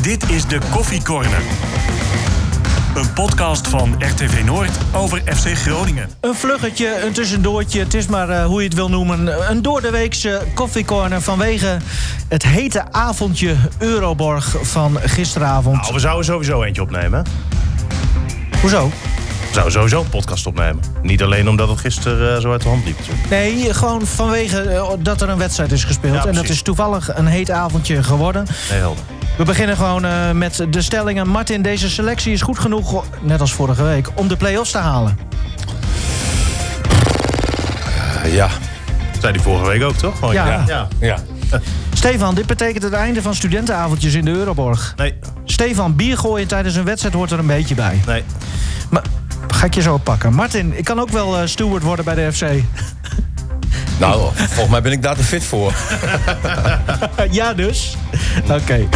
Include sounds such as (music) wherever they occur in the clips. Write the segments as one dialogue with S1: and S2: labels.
S1: Dit is de Koffiekorner. Een podcast van RTV Noord over FC Groningen.
S2: Een vluggetje, een tussendoortje, het is maar eh, hoe je het wil noemen. Een doordeweekse koffiecorner vanwege het hete avondje Euroborg van gisteravond.
S3: Nou, we zouden sowieso eentje opnemen.
S2: Hoezo?
S3: We zouden sowieso een podcast opnemen. Niet alleen omdat het gisteren eh, zo uit de hand liep. natuurlijk.
S2: Nee, gewoon vanwege eh, dat er een wedstrijd is gespeeld.
S3: Ja,
S2: en dat
S3: precies.
S2: is toevallig een heet avondje geworden.
S3: Nee, helder.
S2: We beginnen gewoon eh, met de stellingen. Martin, deze selectie is goed genoeg, net als vorige week, om de play-offs te halen.
S4: Ja,
S3: Zei die vorige week ook, toch? Gewoon,
S2: Ja.
S4: ja.
S2: Stefan, dit betekent het einde van studentenavondjes in de Euroborg.
S3: Nee,
S2: Stefan, bier gooien tijdens een wedstrijd hoort er een beetje bij.
S3: nee.
S2: Maar, ga ik je zo pakken. Martin, ik kan ook wel eh, steward worden bij de FC.
S4: Nou, volgens mij ben ik daar te fit voor.
S2: (laughs) ja, dus. Oké.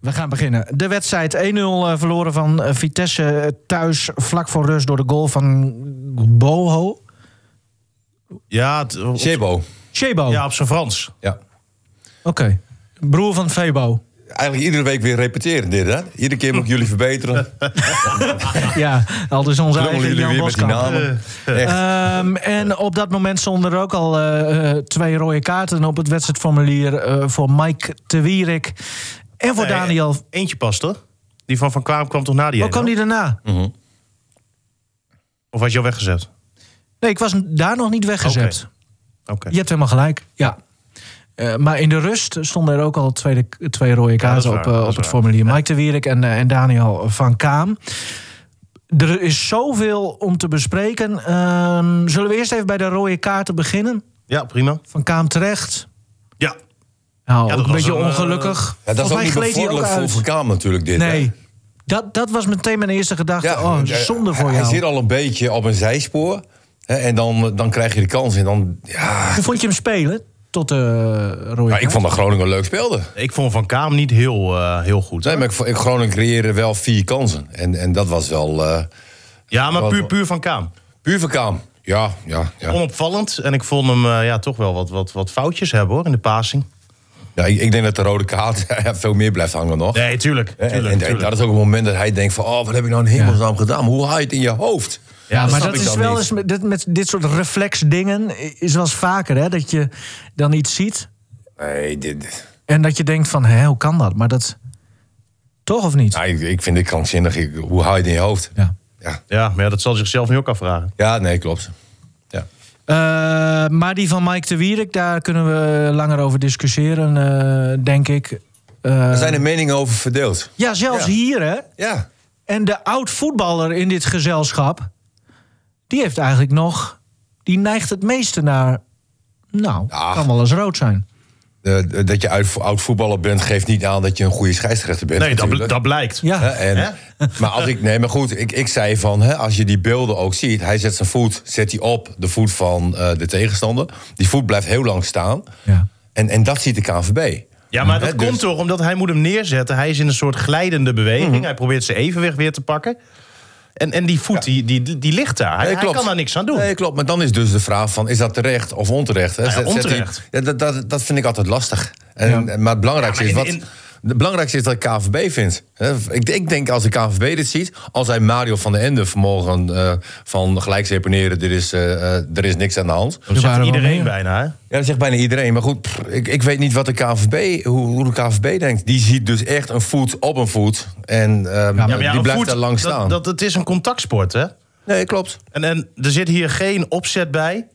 S2: We gaan beginnen. De wedstrijd 1-0 eh, verloren van eh, Vitesse eh, thuis vlak voor rust door de goal van Boho.
S3: Ja, het- op-
S4: Jebo.
S2: Chebo.
S3: ja, op zijn Frans.
S4: Ja.
S2: Oké. Broer van
S4: (laughs)
S2: Febo.
S4: Eigenlijk iedere week weer repeteren dit, hè? Iedere keer moet ik jullie verbeteren.
S2: ja, al is onze
S4: Klungelen
S2: eigen
S4: jullie
S2: Jan
S4: weer met die
S2: Boskamp.
S4: namen.
S3: Eh,
S4: Echt.
S2: Ehm, en op dat moment stonden er ook al eh, eh, twee rode kaarten op het wedstrijdformulier eh, voor Mike de Wierik en voor
S3: Nee,
S2: Daniel. Hoe
S3: eh, Eentje past, toch? Die van Van Kwaam kwam toch na die ene?
S2: kwam die daarna?
S3: Of had je al weggezet?
S2: Nee, ik was daar nog niet weggezet.
S3: Oké.
S2: Je hebt helemaal gelijk, ja. Eh, maar in de rust stonden er ook al tweede, twee rode
S3: dat
S2: kaarten
S3: is waar,
S2: op, eh,
S3: dat is
S2: op het
S3: waar.
S2: formulier. Mike de Wierik en, eh, en Daniel van Kaam. Er is zoveel om te bespreken. Ehm, zullen we eerst even bij de rode kaarten beginnen?
S3: Ja, prima.
S2: Van Kaam terecht.
S3: Ja.
S2: Nou,
S3: Ja,
S2: ook
S3: dat
S2: een
S3: was
S2: beetje
S3: een, eh,
S2: ongelukkig.
S4: Ja, dat
S2: Volgens
S4: is ook
S2: mij
S4: niet
S2: gleed hij ook
S4: bevorderlijk voor
S2: uit.
S4: Van Kaam natuurlijk, dit. hè?
S2: Nee, dat, dat was meteen mijn eerste gedachte. oh,
S4: ja,
S2: zonde voor
S4: hij,
S2: jou.
S4: Hij zit al een beetje op een zijspoor. Hè, en dan, dan krijg je de kans. En dan, ja...
S2: Hoe vond je hem spelen tot de eh, rode
S4: Nou, ik
S2: kaart?
S4: vond dat Groningen leuk speelde.
S3: Ik vond Van Kaam niet heel, eh, heel goed.
S4: Nee, maar ik, vond- ik- Groningen creëerde wel vier kansen. En, en dat was wel eh,
S3: Ja, maar
S4: Wat-
S3: puur, puur Van Kaam.
S4: puur Van Kaam. Ja, ja, ja.
S3: Onopvallend. En ik vond hem eh, ja, toch wel wat, wat, wat foutjes hebben hoor, in de passing.
S4: ja ik, ik denk dat de rode kaart (laughs) veel meer blijft hangen nog.
S3: Nee, tuurlijk.
S4: Hè,
S3: tuurlijk,
S4: en, en
S3: tuurlijk.
S4: dat is ook een moment dat hij denkt van... oh, wat heb ik nou in hemelsnaam gedaan? Hoe haal je het in je hoofd?
S3: Ja,
S2: Ja,
S3: dat
S2: maar
S3: snap
S2: dat
S3: ik
S2: is
S3: dan
S2: wel
S3: niet.
S2: eens met dit, met dit soort reflexdingen is wel eens vaker hè, dat je dan iets ziet
S4: Nee, dit...
S2: en dat je denkt van hé, hoe kan dat? Maar dat toch of niet?
S4: Nou, ik, ik vind dit krankzinnig. Ik- hoe haal je het in je hoofd?
S2: Ja.
S4: Ja,
S3: Ja, maar ja, dat zal hij zichzelf nu ook afvragen.
S4: Ja, nee, klopt. Ja.
S2: Eh, maar die van Mike de Wierik, daar kunnen we langer over discussiëren, eh, denk ik. Eh,
S4: Er zijn
S3: Ehm.
S4: er meningen over verdeeld.
S2: Ja, zelfs
S4: Ja.
S2: hier hè.
S4: Ja.
S2: En de oud voetballer in dit gezelschap, die heeft eigenlijk nog, die neigt het meeste naar, nou,
S4: Ja.
S2: kan wel eens rood zijn.
S4: Eh, d- dat je uit- oud voetballer bent, geeft niet aan dat je een goede scheidsrechter bent.
S3: Nee, dat, bl-
S4: natuurlijk.
S3: dat blijkt.
S2: Ja.
S4: Hè, en, maar als ik, nee, maar goed, ik, ik zei van, hè, als je die beelden ook ziet, hij zet zijn voet, zet hij op de voet van eh, de tegenstander. Die voet blijft heel lang staan.
S2: Ja.
S4: En, en dat ziet de KNVB.
S3: Ja, maar dat
S4: Hè, dus-
S3: komt toch omdat hij moet hem neerzetten. Hij is in een soort glijdende beweging.
S4: Mhm.
S3: Hij probeert zijn evenwicht weer te pakken. En, en die voet, die, die, die ligt daar. Hij,
S4: Nee,
S3: hij kan daar niks aan doen. Nou
S4: Nee, klopt. Maar dan is dus de vraag van, is dat terecht of onterecht? hè?
S3: ja,
S4: Zet- zet hij-
S3: onterecht.
S4: Ja, dat, dat, dat vind ik altijd lastig. En, Maar het belangrijkste,
S3: Ja, maar
S4: is
S3: in-
S4: wat, het belangrijkste is dat de KNVB vindt. hè. Ik, ik denk als de KNVB dit ziet, als hij Mario van de Ende vanmorgen eh, van gelijk seponeren, er is, eh, eh, er is niks aan de hand.
S3: Dat zegt
S2: waren wel
S3: iedereen
S2: meer.
S3: bijna. Hè?
S4: Ja, dat zegt bijna iedereen. Maar goed, pff, ik, ik weet niet wat de KNVB, hoe, hoe de KNVB denkt. Die ziet dus echt een voet op een voet. En ehm,
S3: maar ja,
S4: die
S3: een
S4: blijft
S3: voet,
S4: daar lang
S3: dat-
S4: staan.
S3: Dat, het is een contactsport, hè?
S4: nee, klopt.
S3: En, en er zit hier geen opzet bij.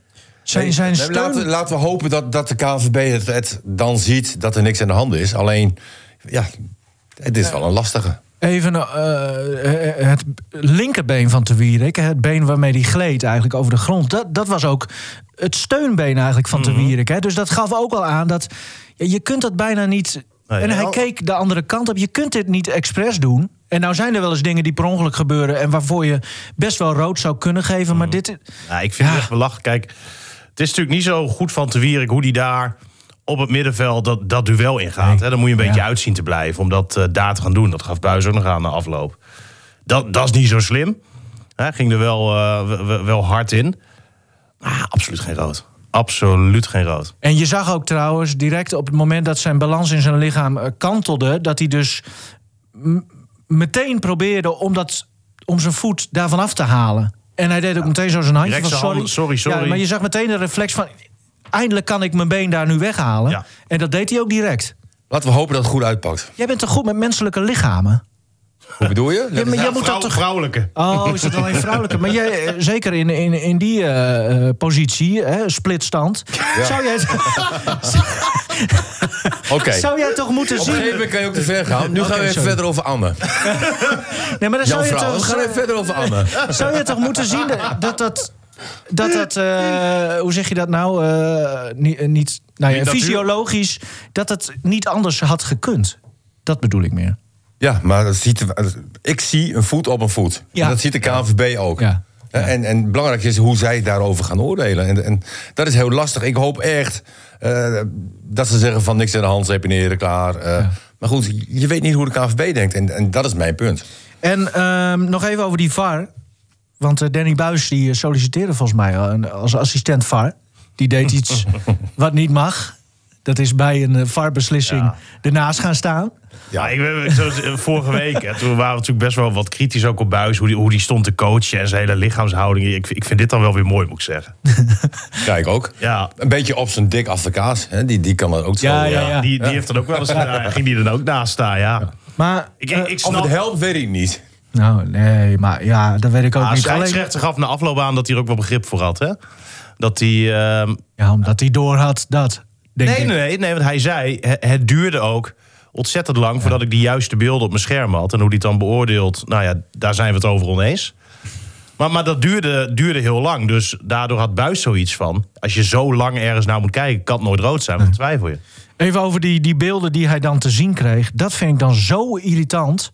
S2: Zijn, zijn
S4: Nee, maar
S2: steun...
S4: laten, we- laten we hopen dat, dat de KNVB het, het dan ziet dat er niks aan de hand is. Alleen, ja, het is wel een lastige.
S2: Even eh, eh, het linkerbeen van Te Wierik, het been waarmee die gleed eigenlijk over de grond, dat, dat was ook het steunbeen eigenlijk van
S3: Mhm.
S2: Te Wierik. Hè? Dus dat gaf ook al aan dat ja, je kunt dat bijna niet.
S3: Nee,
S2: en
S3: ja,
S2: hij
S3: al-
S2: keek de andere kant op. Je kunt dit niet expres doen. En nou zijn er wel eens dingen die per ongeluk gebeuren en waarvoor je best wel rood zou kunnen geven, maar dit.
S3: Nou, ik vind
S2: Ja.
S3: het echt belachelijk. Kijk, het is natuurlijk niet zo goed van te wierik hoe die daar op het middenveld dat, dat duel ingaat. Hè? Dan moet je een beetje
S2: Ja.
S3: uitzien te blijven om dat eh, daar te gaan doen. Dat gaf Buis ook nog aan de afloop. Dat, dat is niet zo slim. Hè? Ging er wel, eh, w- w- wel hard in. Maar absoluut geen rood. absoluut geen rood.
S2: En je zag ook trouwens direct op het moment dat zijn balans in zijn lichaam eh, kantelde, dat hij dus m- meteen probeerde om, dat, om zijn voet daarvan af te halen. En hij deed ook meteen zo zijn handje
S3: Direct
S2: van
S3: zijn
S2: sorry.
S3: handen, sorry, sorry.
S2: Ja, maar je zag meteen de reflex van eindelijk kan ik mijn been daar nu weghalen.
S3: Ja.
S2: En dat deed hij ook direct.
S4: Laten we hopen dat het goed uitpakt.
S2: Jij bent toch goed met menselijke lichamen?
S4: Hoe bedoel je?
S2: Ja, maar jij moet
S3: Vrouw-
S2: dat toch...
S3: Vrouwelijke.
S2: Oh, is dat alleen vrouwelijke? Maar jij,
S3: (laughs)
S2: eh, zeker in, in, in die eh, eh, positie, hè, splitstand... Zou, jij,
S4: Oké.
S2: zou jij toch moeten
S4: Op een
S2: zien...
S4: gegeven moment kan je ook te ver gaan. Nu gaan we even
S2: sorry.
S4: verder over Anne.
S2: Nee, maar dan
S4: Jouw
S2: zou je,
S4: vrouw. We
S2: toch, eh,
S4: gaan even verder over Anne.
S2: zou je toch moeten zien dat dat... dat dat dat, eh, hoe zeg je dat nou, eh, ni- eh, niet, nou ja,
S3: Niet natuurlijk.
S2: fysiologisch, dat het niet anders had gekund. Dat bedoel ik meer.
S4: Ja, maar dat ziet, ik zie een voet op een voet.
S2: Ja.
S4: En dat ziet de KNVB ook.
S2: Ja.
S4: Hè, En, en belangrijk is hoe zij daarover gaan oordelen. En, en dat is heel lastig. Ik hoop echt eh, dat ze zeggen van niks in de hand, seponeren, klaar. eh. Maar goed, je weet niet hoe de KNVB denkt. En, en dat is mijn punt.
S2: En ehm, nog even over die VAR. Want eh, Danny Buis die eh, solliciteerde volgens mij al een- als assistent VAR. Die
S3: (laughs)
S2: deed iets wat niet mag. Dat is bij een eh, VAR-beslissing
S3: Ja.
S2: ernaast gaan staan.
S3: Ja, ik, ben- zoals, eh, vorige week, hè, toen waren we natuurlijk best wel wat kritisch ook op Buis. Hoe die, hoe die stond te coachen en zijn hele lichaamshouding. Ik, ik vind dit dan wel weer mooi, moet ik zeggen.
S4: Kijk ook.
S3: Ja,
S4: Een beetje op zijn dik af de kaas. Hè? Die, die kan dat ook zo.
S2: Ja, ja,
S3: ja,
S2: ja.
S3: Die, die heeft dan ook wel eens gedaan. Ging die er dan ook naast staan, ja.
S2: Maar,
S3: Ik,
S2: eh,
S3: ik, ik
S4: Of
S3: snap...
S4: het helpt, weet ik niet.
S2: nou nee, maar ja, dat weet ik ook
S3: Ah,
S2: niet. Alleen,
S3: scheidsrechter gaf na afloop aan dat hij er ook wel begrip voor had, hè? Dat hij... ehm,
S2: ja, omdat hij door had dat, denk
S3: nee,
S2: ik.
S3: nee, nee, nee, want hij zei... he- Het duurde ook ontzettend lang voordat ik die juiste beelden op mijn scherm had. En hoe die het dan beoordeelt, nou ja, daar zijn we het over oneens. Maar, maar dat duurde, duurde heel lang. Dus daardoor had Buis zoiets van... Als je zo lang ergens naar moet kijken, kan het nooit rood zijn. Want dan twijfel je.
S2: Even over die, die beelden die hij dan te zien kreeg. Dat vind ik dan zo irritant.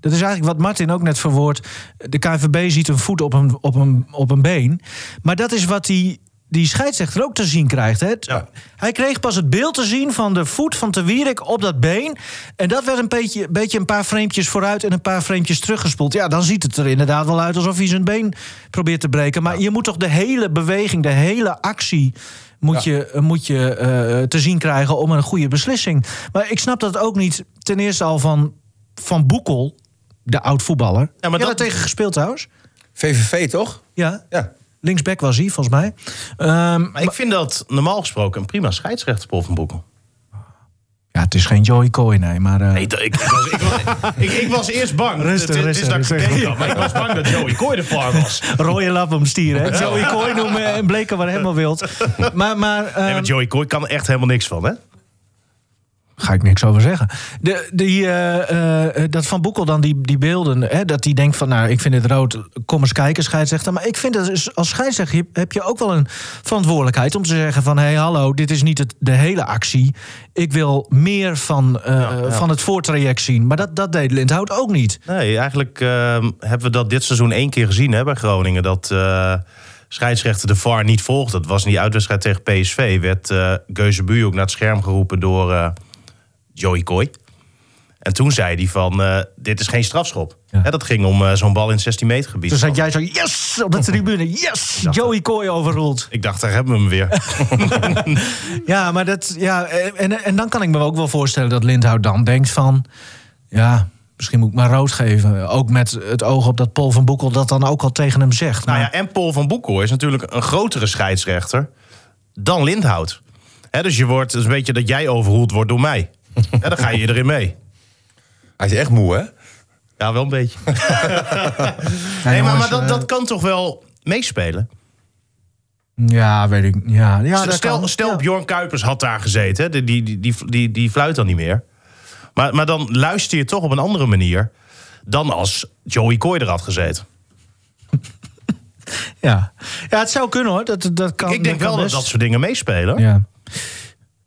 S2: Dat is eigenlijk wat Martin ook net verwoord. De KNVB ziet een voet op een, op een, op een been. Maar dat is wat die, die scheidsrechter ook te zien krijgt. Hè?
S3: Ja.
S2: Hij kreeg pas het beeld te zien van de voet van Te Wierik op dat been. En dat werd een beetje, beetje een paar framepjes vooruit en een paar framepjes teruggespoeld. Ja, dan ziet het er inderdaad wel uit alsof hij zijn been probeert te breken. Maar je moet toch de hele beweging, de hele actie... moet je, moet je eh, te zien krijgen om een goede beslissing. Maar ik snap dat ook niet ten eerste al van, van Boekel, de oud-voetballer. Ja, maar
S3: maar
S2: dat...
S3: dat-
S2: tegen gespeeld trouwens.
S4: VVV toch?
S2: Ja,
S4: Ja.
S2: linksback was hij volgens mij. Ehm,
S3: Maar ik vind dat normaal gesproken een prima scheidsrechter, Paul van Boekel.
S2: ja, het is geen Joey Coy, nee, maar... eh,
S3: Nee, dat- ik, ik, was, ik, was, ik, ik was eerst bang.
S2: Rustig,
S3: Het- het,
S2: rustig,
S3: is dat ik
S2: rustig.
S3: gekeken had, maar ik was bang dat Joey Kooi de var was.
S2: Rode lap om stieren. (laughs) hè? Joey Kooi noemen en bleken wat helemaal (laughs) wild. Maar, maar ehm,
S3: (laughs) Nee, want Joey Kooi kan er echt helemaal niks van, hè?
S2: ga ik niks over zeggen. De, die, eh, eh, dat Van Boekel dan die, die beelden, hè, dat die denkt van... nou, ik vind het rood, kom eens kijken, scheidsrechter. Maar ik vind dat is- als scheidsrechter heb- heb je ook wel een verantwoordelijkheid... om te zeggen van, hé, hey, hallo, dit is niet het, de hele actie. Ik wil meer van, eh, van het voortraject zien. Maar dat, dat deed Lindhout ook niet.
S3: Nee, eigenlijk ehm, hebben we dat dit seizoen één keer gezien hè, bij Groningen. Dat eh scheidsrechter de VAR niet volgde. Dat was in die uitwedstrijd tegen PSV. Werd eh Geuze Buur ook naar het scherm geroepen door eh, Joey Kooi. En toen zei hij van, eh, dit is geen strafschop.
S2: Ja.
S3: Hè, dat ging om eh, zo'n bal in 16 meter gebied.
S2: Toen zat jij zo, yes, op de tribune. Yes, Joey Kooi overroeld.
S3: Ik dacht, daar hebben we hem weer.
S2: Ja, maar dat, ja, en, en dan kan ik me ook wel voorstellen dat Lindhout dan denkt van... ja, misschien moet ik maar rood geven. Ook met het oog op dat Paul van Boekel dat dan ook al tegen hem zegt.
S3: Nou
S2: Maar-
S3: ja, en Paul van Boekel is natuurlijk een grotere scheidsrechter dan Lindhout. Hè, dus je wordt, het is een beetje dat jij overroeld wordt door
S2: (laughs)
S3: mij. Hè, dan ga je erin mee.
S4: Hij is echt moe, hè?
S3: Ja, wel een beetje.
S2: Ja,
S3: Nee, maar,
S2: jongens,
S3: maar dat,
S2: eh,
S3: dat kan toch wel meespelen?
S2: Ja, weet ik. Ja, ja, dat
S3: stel
S2: kan.
S3: stel
S2: Ja.
S3: Bjorn Kuipers had daar gezeten. hè, Die, die, die, die, die, die fluit dan niet meer. Maar, maar dan luister je toch op een andere manier... dan als Joey Kooi er had gezeten.
S2: Ja. ja, het zou kunnen hoor. Dat, dat kan,
S3: ik denk
S2: kan
S3: wel dat
S2: best.
S3: dat soort dingen meespelen.
S2: Ja.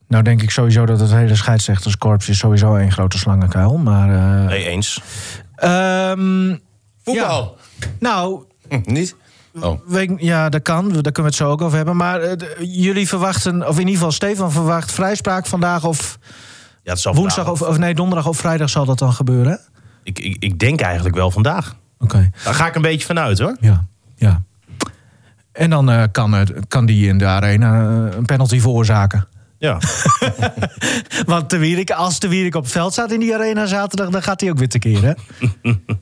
S2: Nou denk ik sowieso dat het hele scheidsrechterskorps is sowieso één grote slangenkuil. Maar... eh,
S3: Nee, eens.
S2: ehm,
S4: Voetbal.
S2: nou,
S4: niet? Oh.
S2: Weet- ja, dat kan. Daar kunnen we het zo ook over hebben. Maar eh, d- jullie verwachten, of in ieder geval Stefan verwacht vrijspraak vandaag of
S3: Ja, het zal
S2: woensdag
S3: vandaag-
S2: of, of nee, donderdag of vrijdag zal dat dan gebeuren. hè? Oké.
S3: Ik, ik, ik denk eigenlijk wel vandaag. Daar ga ik een beetje vanuit, hoor.
S2: Ja. Ja. En dan eh, kan, het, kan die in de arena eh, een penalty veroorzaken.
S3: Ja.
S2: (laughs) Want de Wierik, als de Wierik op het veld staat in die arena zaterdag, dan gaat hij ook weer tekeer. (laughs) Hè?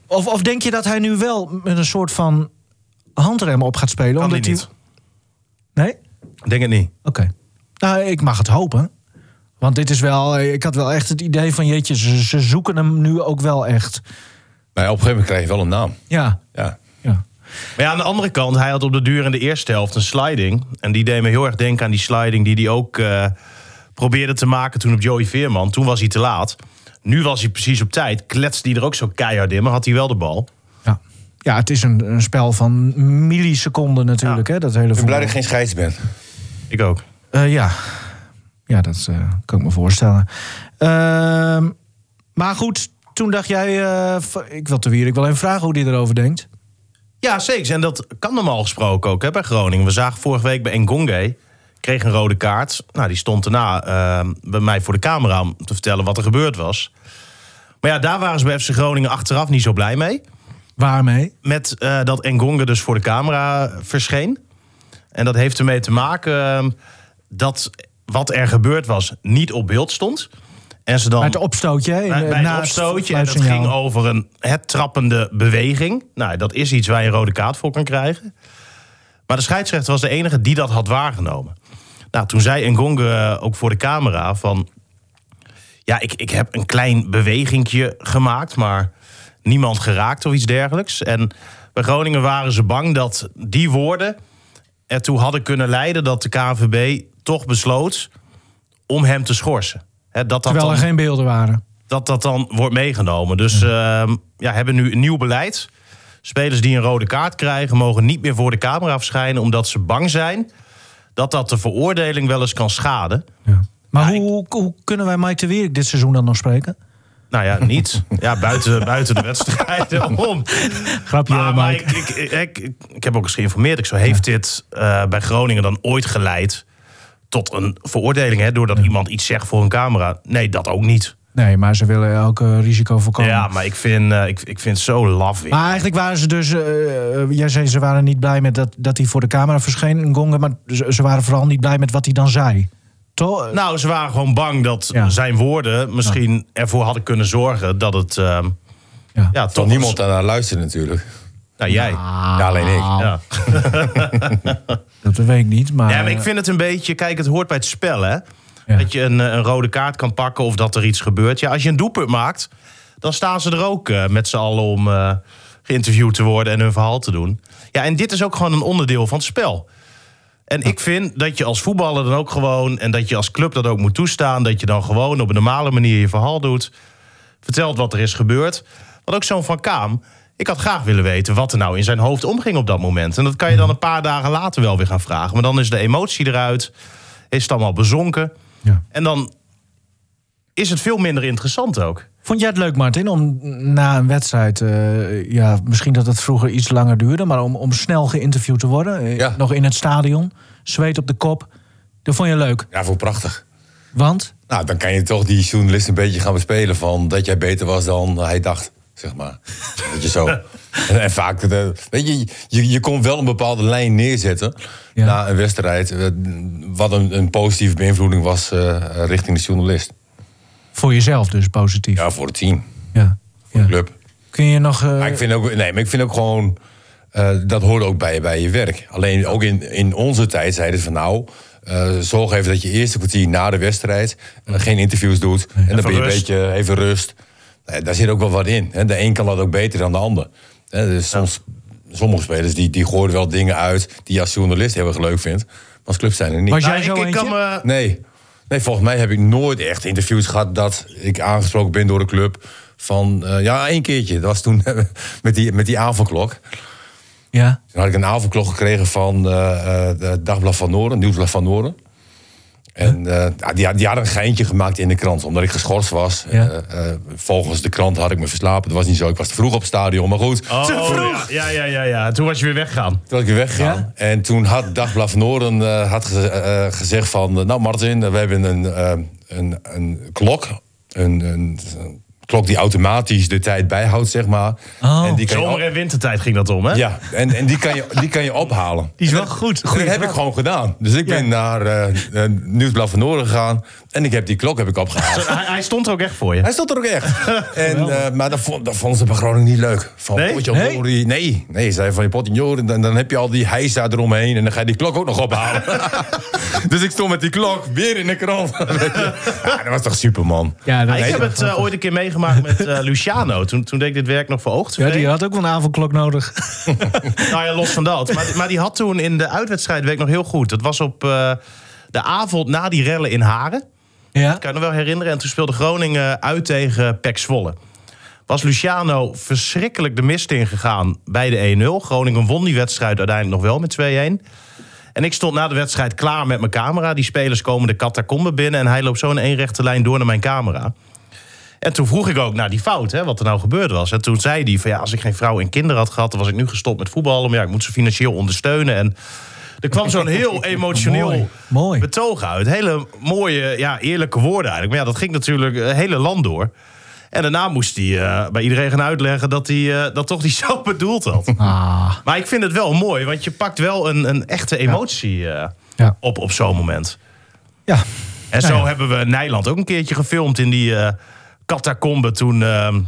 S2: of, of denk je dat hij nu wel met een soort van handrem op gaat spelen?
S3: Kan die
S2: hij-
S3: niet.
S2: Nee?
S3: Ik Denk het niet.
S2: Oké. Nou, ik mag het hopen. Want dit is wel, ik had wel echt het idee van jeetje, ze, ze zoeken hem nu ook wel echt.
S4: Maar ja, op een gegeven moment krijg je wel een naam.
S2: Ja,
S4: Ja.
S2: ja.
S3: Maar ja, aan de andere kant, hij had op de duur in de eerste helft een sliding. En die deed me heel erg denken aan die sliding die hij ook eh, probeerde te maken toen op Joey Veerman. Toen was hij te laat. Nu was hij precies op tijd. Kletste hij er ook zo keihard in, maar had hij wel de bal.
S2: ja. ja het is een, een spel van milliseconden natuurlijk, hè, dat hele
S4: Ik ben blij
S2: voetbal.
S4: dat ik geen scheids ben.
S3: Ik ook.
S2: Eh, ja. ja, dat eh, kan ik me voorstellen. Ehm, maar goed, toen dacht jij, eh, v- ik wil te Wierik wel even vragen hoe hij erover denkt.
S3: Ja, zeker. En dat kan normaal gesproken ook hè, bij Groningen. We zagen vorige week bij Engonge, kreeg een rode kaart. Nou, die stond daarna eh, bij mij voor de camera om te vertellen wat er gebeurd was. Maar ja, daar waren ze bij FC Groningen achteraf niet zo blij mee.
S2: Waarmee?
S3: Met eh, dat Engonge dus voor de camera verscheen. En dat heeft ermee te maken eh, dat wat er gebeurd was niet op beeld stond. En ze dan
S2: Bij het opstootje. hè, in
S3: bij,
S2: de-
S3: bij het
S2: na
S3: opstootje. En dat
S2: fluitsignaal.
S3: ging over een het trappende beweging. Nou, dat is iets waar je een rode kaart voor kan krijgen. Maar de scheidsrechter was de enige die dat had waargenomen. Nou, toen zei Ngonge eh, ook voor de camera van... Ja, ik, ik heb een klein bewegingje gemaakt, maar niemand geraakt of iets dergelijks. En bij Groningen waren ze bang dat die woorden ertoe hadden kunnen leiden... dat de KNVB toch besloot om hem te schorsen. Hè, dat dat
S2: Terwijl er
S3: dan-
S2: geen beelden waren.
S3: dat dat dan wordt meegenomen. Dus ehm, ja, hebben nu een nieuw beleid. Spelers die een rode kaart krijgen, mogen niet meer voor de camera verschijnen, omdat ze bang zijn dat dat de veroordeling wel eens kan schaden.
S2: Maar hoe, hoe, hoe kunnen wij Mike de Wierik dit seizoen dan nog spreken?
S3: Nou ja, niet. Ja, buiten, buiten de wedstrijden om.
S2: Grapje,
S3: Maar, maar
S2: Mike.
S3: ik, ik, ik, ik, ik heb ook eens geïnformeerd. Ik zo, heeft dit eh, bij Groningen dan ooit geleid tot een veroordeling? Hè, doordat iemand iets zegt voor een camera? Nee, dat ook niet.
S2: Nee, maar ze willen elk eh, risico voorkomen.
S3: Ja, maar ik vind, eh, ik, ik vind het zo laf. weer.
S2: Maar eigenlijk waren ze dus... eh, eh, jij zei ze waren niet blij met dat, dat hij voor de camera verscheen, Gongen. Maar ze, ze waren vooral niet blij met wat hij dan zei. Toch? Eh,
S3: Nou, ze waren gewoon bang dat
S2: Ja.
S3: zijn woorden misschien ervoor hadden kunnen zorgen dat het. ehm,
S2: Ja.
S3: ja.
S4: Toch
S3: toch
S4: niemand daarnaar luisteren natuurlijk.
S3: Nou, jij.
S2: Ah.
S4: Ja, alleen ik.
S3: Ja.
S2: Dat weet ik niet, maar...
S3: ja, maar ik vind het een beetje. Kijk, het hoort bij het spel, hè?
S2: Ja.
S3: Dat je een, eh, een rode kaart kan pakken of dat er iets gebeurt. Ja, als je een doelpunt maakt, dan staan ze er ook eh, met z'n allen om eh, geïnterviewd te worden en hun verhaal te doen. Ja, en dit is ook gewoon een onderdeel van het spel. En ik vind dat je als voetballer dan ook gewoon, en dat je als club dat ook moet toestaan, dat je dan gewoon op een normale manier je verhaal doet. Vertelt wat er is gebeurd. Want ook zo'n Van Kaam, ik had graag willen weten wat er nou in zijn hoofd omging op dat moment. En dat kan je dan een paar dagen later wel weer gaan vragen. Maar dan is de emotie eruit, is het allemaal bezonken.
S2: Ja.
S3: En dan is het veel minder interessant ook.
S2: Vond jij het leuk, Martin, om na een wedstrijd... eh, ja, misschien dat het vroeger iets langer duurde... maar om, om snel geïnterviewd te worden, eh,
S4: Ja.
S2: nog in het stadion... zweet op de kop, dat vond je leuk.
S4: Ja, voor prachtig.
S2: Want?
S4: Nou, dan kan je toch die journalist een beetje gaan bespelen van dat jij beter was dan hij dacht, zeg maar. (laughs) Weet je zo. En, en vaak, eh, weet je, je, je kon wel een bepaalde lijn neerzetten
S2: Ja.
S4: na een wedstrijd, eh, wat een, een positieve beïnvloeding was eh, richting de journalist.
S2: Voor jezelf dus, positief.
S4: Ja, voor het team,
S2: Ja.
S4: voor de
S2: Ja.
S4: club.
S2: Kun je nog... eh,
S4: Maar ik vind ook, nee, maar ik vind ook gewoon, eh, dat hoort ook bij, bij je werk. Alleen ook in, in onze tijd zeiden ze van nou, eh, zorg even dat je eerste kwartier na de wedstrijd eh, geen interviews doet. En dan ben je een
S3: rust.
S4: beetje even rust. Eh, daar zit ook wel wat in. Hè. De een kan dat ook beter dan de ander. Hè, dus soms, sommige spelers die, die gooien wel dingen uit die je als journalist heel erg leuk vindt. Maar als club zijn er niet.
S2: Was jij
S3: Nou,
S2: zo
S3: ik, ik kan
S2: eentje?
S3: me
S4: Nee. nee, volgens mij heb ik nooit echt interviews gehad dat ik aangesproken ben door de club. Van eh, ja, één keertje. Dat was toen (laughs) met die, met die avondklok.
S2: Ja.
S4: Toen had ik een avondklok gekregen van eh, eh, de Dagblad van Noorden, Nieuwsblad van Noorden. En eh, ja, die, had- die hadden een geintje gemaakt in de krant, omdat ik geschorst was.
S2: Ja.
S4: Eh, eh, volgens de krant had ik me verslapen. Dat was niet zo, ik was te vroeg op het stadion, maar goed.
S3: Oh, Ja, ja, ja, ja, ja. Toen was je weer weggaan.
S4: Toen was ik weer weggegaan. En toen had Dagblad van Noorden eh, had geze- eh, gezegd van... eh, nou Martin, eh, we hebben een, eh, een, een klok. Een, een, een klok die automatisch de tijd bijhoudt, zeg maar.
S2: Oh.
S4: die kan je
S3: Zomer- en wintertijd ging dat om, hè?
S4: ja, en, en die, kan je, die kan je ophalen.
S3: Die is
S4: En
S3: wel
S4: dat-
S3: goed.
S4: en
S3: Goeie
S4: dat heb
S3: vraag.
S4: ik gewoon gedaan. Dus ik ben naar eh eh, Nieuwsblad van Noorden gegaan. En ik heb die klok heb ik opgehaald.
S3: Hij, hij stond er ook echt voor je.
S4: Hij stond er ook echt. En, eh, maar dat, vond, dat vonden ze bij Groningen niet leuk. Van
S3: Nee?
S2: Nee?
S4: Potjonjori. Nee? nee, zei van je Potjonjori. Dan, dan heb je al die heisa eromheen. En dan ga je die klok ook nog ophalen. (laughs) dus ik stond met die klok weer in de krant. (laughs) Weet je. ja, dat was toch super, man.
S2: Ja, dat
S3: ik
S2: is-
S3: heb het eh, ooit een keer meegemaakt met eh, Luciano. Toen, toen deed ik dit werk nog voor oog.
S2: ja, die had ook wel een avondklok nodig. (laughs)
S3: Nou ja, los van dat. Maar, maar die had toen in de uitwedstrijd, weet ik nog heel goed. Dat was op eh, de avond na die rellen in Haren.
S2: ja.
S3: kan ik me nog wel herinneren. En toen speelde Groningen uit tegen Pek Zwolle. Was Luciano verschrikkelijk de mist ingegaan bij de 1-0. Groningen won die wedstrijd uiteindelijk nog wel met 2-1. En ik stond na de wedstrijd klaar met mijn camera. Die spelers komen de catacombe binnen... en hij loopt zo in één rechte lijn door naar mijn camera. En toen vroeg ik ook naar die fout, hè, wat er nou gebeurd was. En toen zei hij van ja, als ik geen vrouw en kinderen had gehad... dan was ik nu gestopt met voetballen, maar ja, ik moet ze financieel ondersteunen. En er kwam zo'n
S2: (laughs)
S3: heel emotioneel
S2: Mooi, mooi.
S3: betoog uit. Hele mooie, ja, eerlijke woorden eigenlijk. Maar ja, dat ging natuurlijk het hele land door. En daarna moest hij eh, bij iedereen gaan uitleggen dat hij eh, dat toch niet (laughs) zo bedoeld had.
S2: Ah,
S3: Maar ik vind het wel mooi, want je pakt wel een, een echte emotie eh,
S2: Ja.
S3: op op zo'n moment.
S2: ja.
S3: En zo
S2: Nou ja.
S3: hebben we Nijland ook een keertje gefilmd in die eh catacombe toen ehm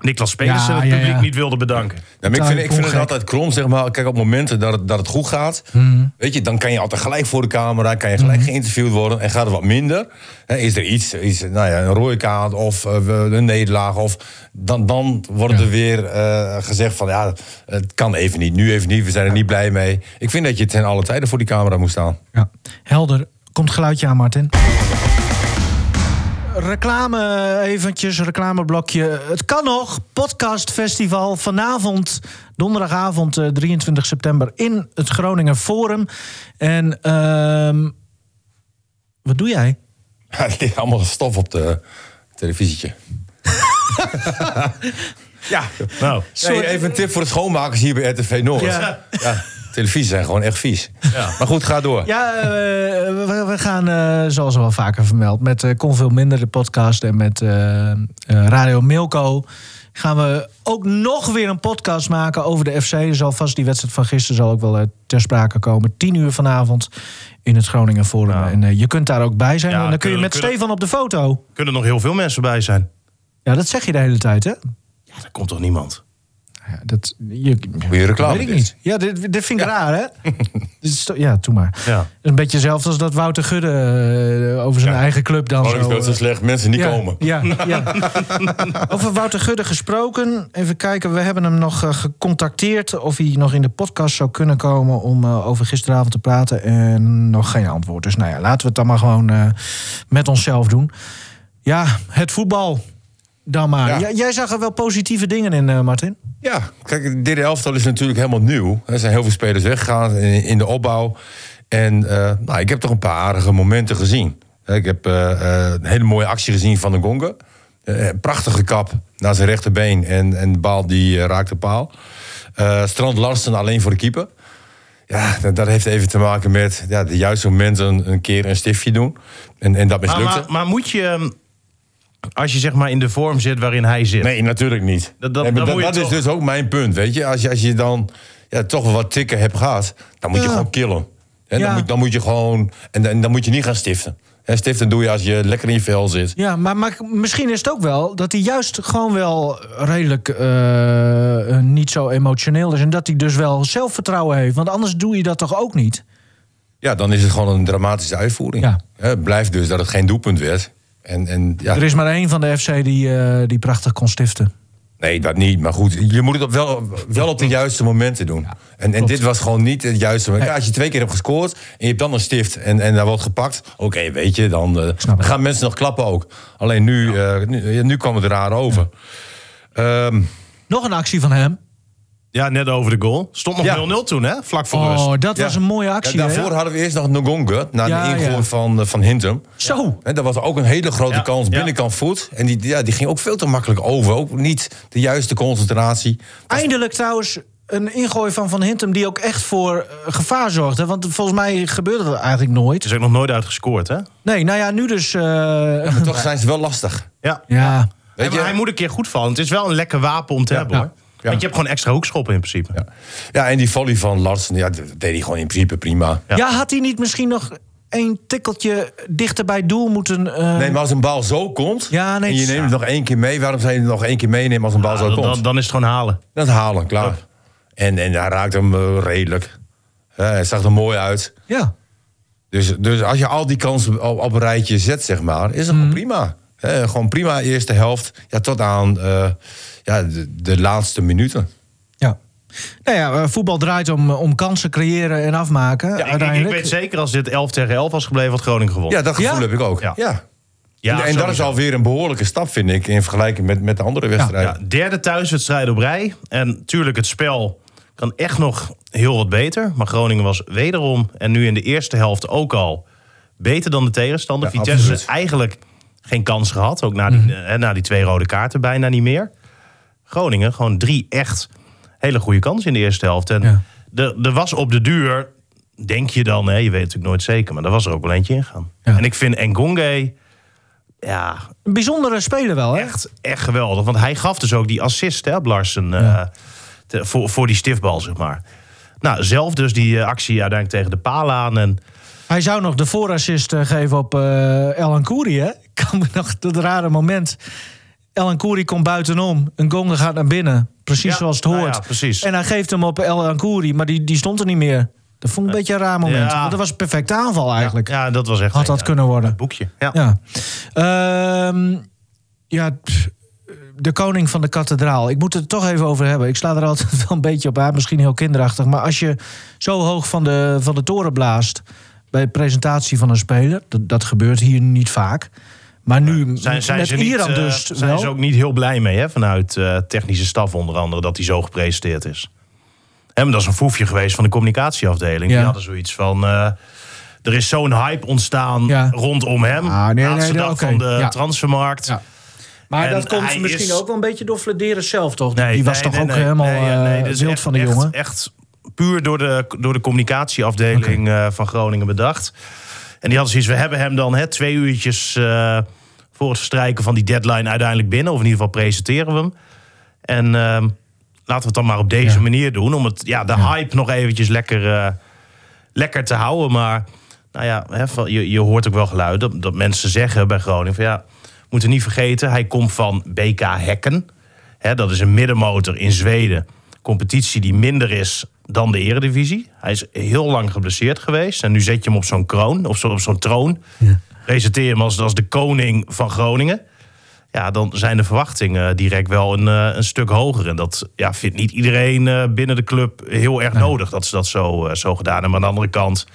S3: Niklas Pedersen
S2: Ja,
S3: het
S2: ja,
S3: publiek
S2: ja.
S3: niet wilde bedanken.
S4: Ja, maar ik vind, ik vind het
S2: Tuinpoelgek.
S4: altijd krom, zeg maar. Kijk, op momenten dat het, dat het goed gaat... weet je, dan kan je altijd gelijk voor de camera... kan je gelijk geïnterviewd worden en gaat het wat minder. Hè, is er iets, iets, nou ja, een rode kaart of eh, we- een nederlaag... Of, dan, dan wordt er weer eh, gezegd van... ja, het kan even niet, nu even niet, we zijn er niet blij mee. Ik vind dat je ten alle tijden voor die camera moet staan. (laughs)
S2: ja. Helder. Komt geluidje aan, Martin. Reclame eventjes, reclameblokje. Het kan nog. Podcastfestival vanavond, donderdagavond eh, 23 september in het Groningen Forum. En ehm, wat doe jij?
S4: Ja, er ligt allemaal stof op de televisietje. ja,
S3: Nou,
S4: Hey, even een tip voor de schoonmakers hier bij RTV Noord.
S2: Ja.
S4: Ja. televisies zijn gewoon echt vies. Maar goed, ga door.
S2: Ja, eh, we, we gaan, eh, zoals wel vaker vermeld, met eh Kon Veel Minder, de podcast... en met eh, eh, Radio Milko gaan we ook nog weer een podcast maken over de FC. Er zal vast die wedstrijd van gisteren zal ook wel eh, ter sprake komen. 10 uur vanavond in het Groningen Forum. En eh, je kunt daar ook bij zijn.
S3: Ja,
S2: en dan kun je
S3: kunnen-
S2: met
S3: kunnen-
S2: Stefan op de foto.
S3: kunnen nog heel veel mensen bij zijn.
S2: Ja, dat zeg je de hele tijd, hè?
S3: Ja, daar komt toch niemand?
S2: Ja, dat, je,
S4: Goeie reclame
S2: Weet ik
S4: dit.
S2: niet. Ja, dit, dit vind ik raar,
S4: (laughs)
S2: hè? Dit is toch- ja, doe maar.
S3: Ja.
S2: Een beetje zelfs als dat Wouter Gudde eh, over zijn
S4: Ja. Oh,
S2: eigen club dan
S4: Groningen
S2: zo...
S4: speelt zo
S2: eh,
S4: slecht, mensen niet
S2: ja,
S4: komen. (laughs)
S2: Ja, ja. Over Wouter Gudde gesproken. Even kijken, we hebben hem nog eh, gecontacteerd... of hij nog in de podcast zou kunnen komen om eh, over gisteravond te praten. En nog geen antwoord. Dus nou ja, laten we het dan maar gewoon eh, met onszelf doen. Ja, het voetbal dan maar.
S4: Ja.
S2: Jij- Jij zag er wel positieve dingen in, eh, Martin.
S4: Ja, kijk, dit elftal is natuurlijk helemaal nieuw. Er zijn heel veel spelers weggegaan in, in de opbouw. En eh, nou, ik heb toch een paar aardige momenten gezien. Ik heb eh, eh, een hele mooie actie gezien van de Gonge. Eh, prachtige kap naar zijn rechterbeen en, en de bal die eh, raakt de paal. Eh, Strand Larsen alleen voor de keeper. Ja, dat, dat heeft even te maken met ja, de juiste momenten een keer een stiftje doen. En, en dat
S3: Maar,
S4: mislukte.
S3: maar, maar moet je, ehm, als je zeg maar in de vorm zit waarin hij zit...
S4: Nee, natuurlijk niet.
S3: Dat- dat-
S4: Nee, maar
S3: dan moet je
S4: dat is
S3: toch-
S4: dus ook mijn punt, weet je. Als je, als je dan ja, toch wel wat tikken hebt gehad, dan moet je
S2: Ja.
S4: gewoon killen. Hè,
S2: Ja.
S4: dan, moet, dan moet je gewoon... En, dan- dan moet je niet gaan stiften. Hè, stiften doe je als je lekker in je vel zit.
S2: Ja, maar, maar misschien is het ook wel dat hij juist gewoon wel redelijk eh, eh, niet zo emotioneel is. En dat hij dus wel zelfvertrouwen heeft. Want anders doe je dat toch ook niet?
S4: Ja, dan is het gewoon een dramatische uitvoering.
S2: Ja.
S4: Hè, blijft dus dat het geen doelpunt werd. En, en ja,
S2: Er is maar één van de FC die, eh, die prachtig kon stiften.
S4: nee, dat niet. Maar goed, je moet het op wel, wel op de juiste momenten doen. en en dit was gewoon niet het juiste moment. Ja, als je twee keer hebt gescoord en je hebt dan een stift en, en daar wordt gepakt... oké, weet je, dan eh,
S2: snap het.
S4: gaan mensen nog klappen ook. Alleen nu, eh, nu, nu kwam het raar over. Ehm,
S2: Nog een actie van hem.
S3: Ja, net over de goal. Stond nog
S4: Ja.
S3: 0-0 toen, hè? Vlak voor rust.
S2: Oh, dat was
S4: ja.
S2: een mooie actie.
S4: Ja,
S2: hè?
S4: daarvoor hadden we eerst nog Ngonga, na
S2: Ja,
S4: de ingooi
S2: ja.
S4: van, eh, van Hintum.
S2: Zo.
S4: En dat was ook een hele grote
S3: Ja,
S4: kans
S3: ja.
S4: binnenkant voet. En die, ja, die ging ook veel te makkelijk over. Ook niet de juiste concentratie.
S2: Eindelijk trouwens een ingooi van Van Hintem die ook echt voor eh, gevaar zorgde. Want volgens mij gebeurde dat eigenlijk nooit.
S3: Is ook nog nooit uitgescoord, hè?
S2: (laughs) Nee, nou ja, nu dus... eh,
S4: Maar toch zijn ze wel lastig.
S3: Ja.
S2: ja,
S3: Hij,
S4: je-
S3: hij moet een keer goed vallen. Het is wel een lekker wapen om te hebben,
S4: ja.
S3: hoor.
S4: Ja.
S3: Want je hebt gewoon extra hoekschoppen in principe.
S4: Ja. ja, en die volley van Larsen, ja, dat deed hij gewoon in principe prima.
S2: Ja. had hij niet misschien nog een tikkeltje dichter bij doel moeten... eh,
S4: Nee, maar als een bal zo komt
S2: Ja, nee,
S4: en
S2: het
S4: je
S2: is-
S4: neemt hem nog één keer mee... waarom zou je hem nog één keer meenemen als een bal zo
S3: dan,
S4: komt?
S3: dan, dan is het gewoon halen.
S4: Dat halen, klaar. En, en hij raakt hem eh, redelijk. Eh, hij zag er mooi uit.
S2: Ja.
S4: Dus, dus als je al die kansen op, op een rijtje zet, zeg maar, is het gewoon
S2: Mhm.
S4: prima. Eh, gewoon prima eerste helft. Ja, tot aan eh, ja, de, de laatste minuten.
S2: ja. Nou ja, eh, voetbal draait om, om kansen creëren en afmaken.
S3: Ja, ik- ik, ik,
S2: uiteindelijk.
S3: weet zeker, als dit 11 tegen 11 was gebleven, had Groningen gewonnen.
S4: Ja, dat gevoel
S2: Ja?
S4: heb ik ook.
S3: Ja.
S4: Ja.
S3: Ja,
S4: en en dat is
S3: sowieso.
S4: alweer een behoorlijke stap, vind ik, in vergelijking met, met de andere wedstrijden.
S3: Ja, derde thuiswedstrijd op rij. En tuurlijk, het spel kan echt nog heel wat beter. Maar Groningen was wederom, en nu in de eerste helft ook al, beter dan de tegenstander.
S4: Ja,
S3: Vitesse
S4: absoluut.
S3: eigenlijk geen kans gehad. Ook na die,
S2: Mhm.
S3: eh, na die twee rode kaarten bijna niet meer. Groningen gewoon drie echt hele goede kansen in de eerste helft. En
S2: Ja.
S3: er, er was op de duur, denk je dan, hè, je weet het natuurlijk nooit zeker... maar er was er ook wel eentje ingaan.
S2: Ja.
S3: En ik vind Engonge... Ja,
S2: Een bijzondere speler wel, hè?
S3: Echt, echt geweldig. Want hij gaf dus ook die assist hè, op Larsen. eh, te- voor, voor die stiftbal, zeg maar. Nou, zelf dus die eh, actie uiteindelijk tegen de paal aan. En
S2: Hij zou nog de voorassist eh, geven op eh El Ancoury, hè? (laughs) Ik kan me nog dat rare moment. El Ancoury komt buitenom. Een gonge gaat naar binnen. Precies
S3: Ja,
S2: zoals het
S3: nou
S2: hoort.
S3: ja, precies.
S2: En hij geeft hem op El Ancoury, maar die, die stond er niet meer. Dat vond ik een beetje een raar moment.
S3: Ja.
S2: Want dat was een perfecte aanval eigenlijk.
S3: ja, dat was echt...
S2: Had dat
S3: een,
S2: kunnen worden.
S3: eh, boekje. Ja.
S2: Ja. Ehm, ja, pff, de koning van de kathedraal. Ik moet het er toch even over hebben. Ik sla er altijd (laughs) wel een beetje op aan. Misschien heel kinderachtig. Maar als je zo hoog van de, van de toren blaast... bij de presentatie van een speler... dat, dat gebeurt hier niet vaak... Maar nu
S3: Zijn, zijn
S2: met
S3: ze niet,
S2: Iran
S3: eh,
S2: dus
S3: zijn
S2: wel.
S3: ze ook niet heel blij mee, hè? Vanuit eh, technische staf onder andere, dat hij zo gepresenteerd is. Hè, maar dat is een foefje geweest van de communicatieafdeling.
S2: Ja.
S3: Die hadden zoiets van... eh, er is zo'n hype ontstaan
S2: Ja.
S3: rondom hem.
S2: Ah, nee,
S3: Laatste
S2: nee,
S3: dag
S2: oké.
S3: van de
S2: Ja.
S3: transfermarkt.
S2: Ja. Maar
S3: En
S2: dat komt
S3: hij
S2: misschien
S3: is-
S2: ook wel een beetje door Flederis zelf, toch?
S3: Nee,
S2: die was
S3: nee,
S2: toch
S3: nee,
S2: ook
S3: nee.
S2: helemaal
S3: Nee, ja, nee,
S2: eh,
S3: dit is
S2: wild
S3: echt-
S2: van de
S3: echt-
S2: jongen.
S3: Echt puur door de, door de communicatieafdeling eh, van Groningen bedacht. En die hadden zoiets, we hebben hem dan hè, twee uurtjes eh, voor het verstrijken van die deadline uiteindelijk binnen. Of in ieder geval presenteren we hem. En ehm, laten we het dan maar op deze
S2: Ja.
S3: manier doen. Om het, ja, de hype nog eventjes lekker, eh, lekker te houden. Maar nou ja, hè, van- je, je hoort ook wel geluiden dat, dat mensen zeggen bij Groningen... van ja, we moeten niet vergeten, hij komt van BK Hekken. Hè, dat is een middenmotor in Zweden. Competitie die minder is dan de eredivisie. Hij is heel lang geblesseerd geweest. En nu zet je hem op zo'n kroon, op zo- op zo'n troon. Presenteer hem als, als de koning van Groningen. Ja, dan zijn de verwachtingen direct wel een, eh, een stuk hoger. En dat ja, vindt niet iedereen eh, binnen de club heel erg nodig dat ze dat zo, eh, zo gedaan hebben. Maar aan de andere kant,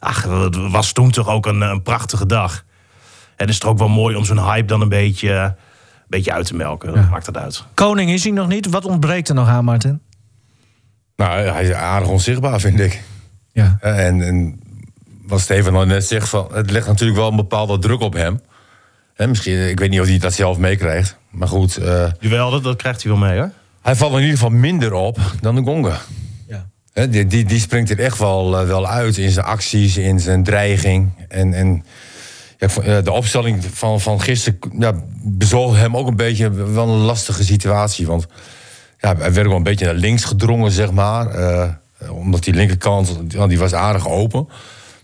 S3: ach, het was toen toch ook een, eh, een prachtige dag. En is het ook wel mooi om zo'n hype dan een beetje, eh, een beetje uit te melken. Dat maakt het uit.
S2: Koning is hij nog niet. Wat ontbreekt er nog aan, Martin?
S4: Nou, hij is aardig onzichtbaar, vind ik.
S2: Ja.
S4: Eh, En, en wat Steven al net zegt, van, het legt natuurlijk wel een bepaalde druk op hem. Hè, misschien, ik weet niet of hij dat zelf meekrijgt. Maar goed, eh,
S3: Jawel, dat, dat krijgt hij wel mee hoor.
S4: hij valt in ieder geval minder op dan de Gonga.
S2: ja.
S4: Hè, die, die, die springt er echt wel, eh, wel uit in zijn acties, in zijn dreiging. En, en ja, ik vond, eh, de opstelling van, van gisteren ja, bezorgde hem ook een beetje wel een lastige situatie. Want ja, hij werd wel een beetje naar links gedrongen, zeg maar. eh, omdat die linkerkant, ja, die was aardig open.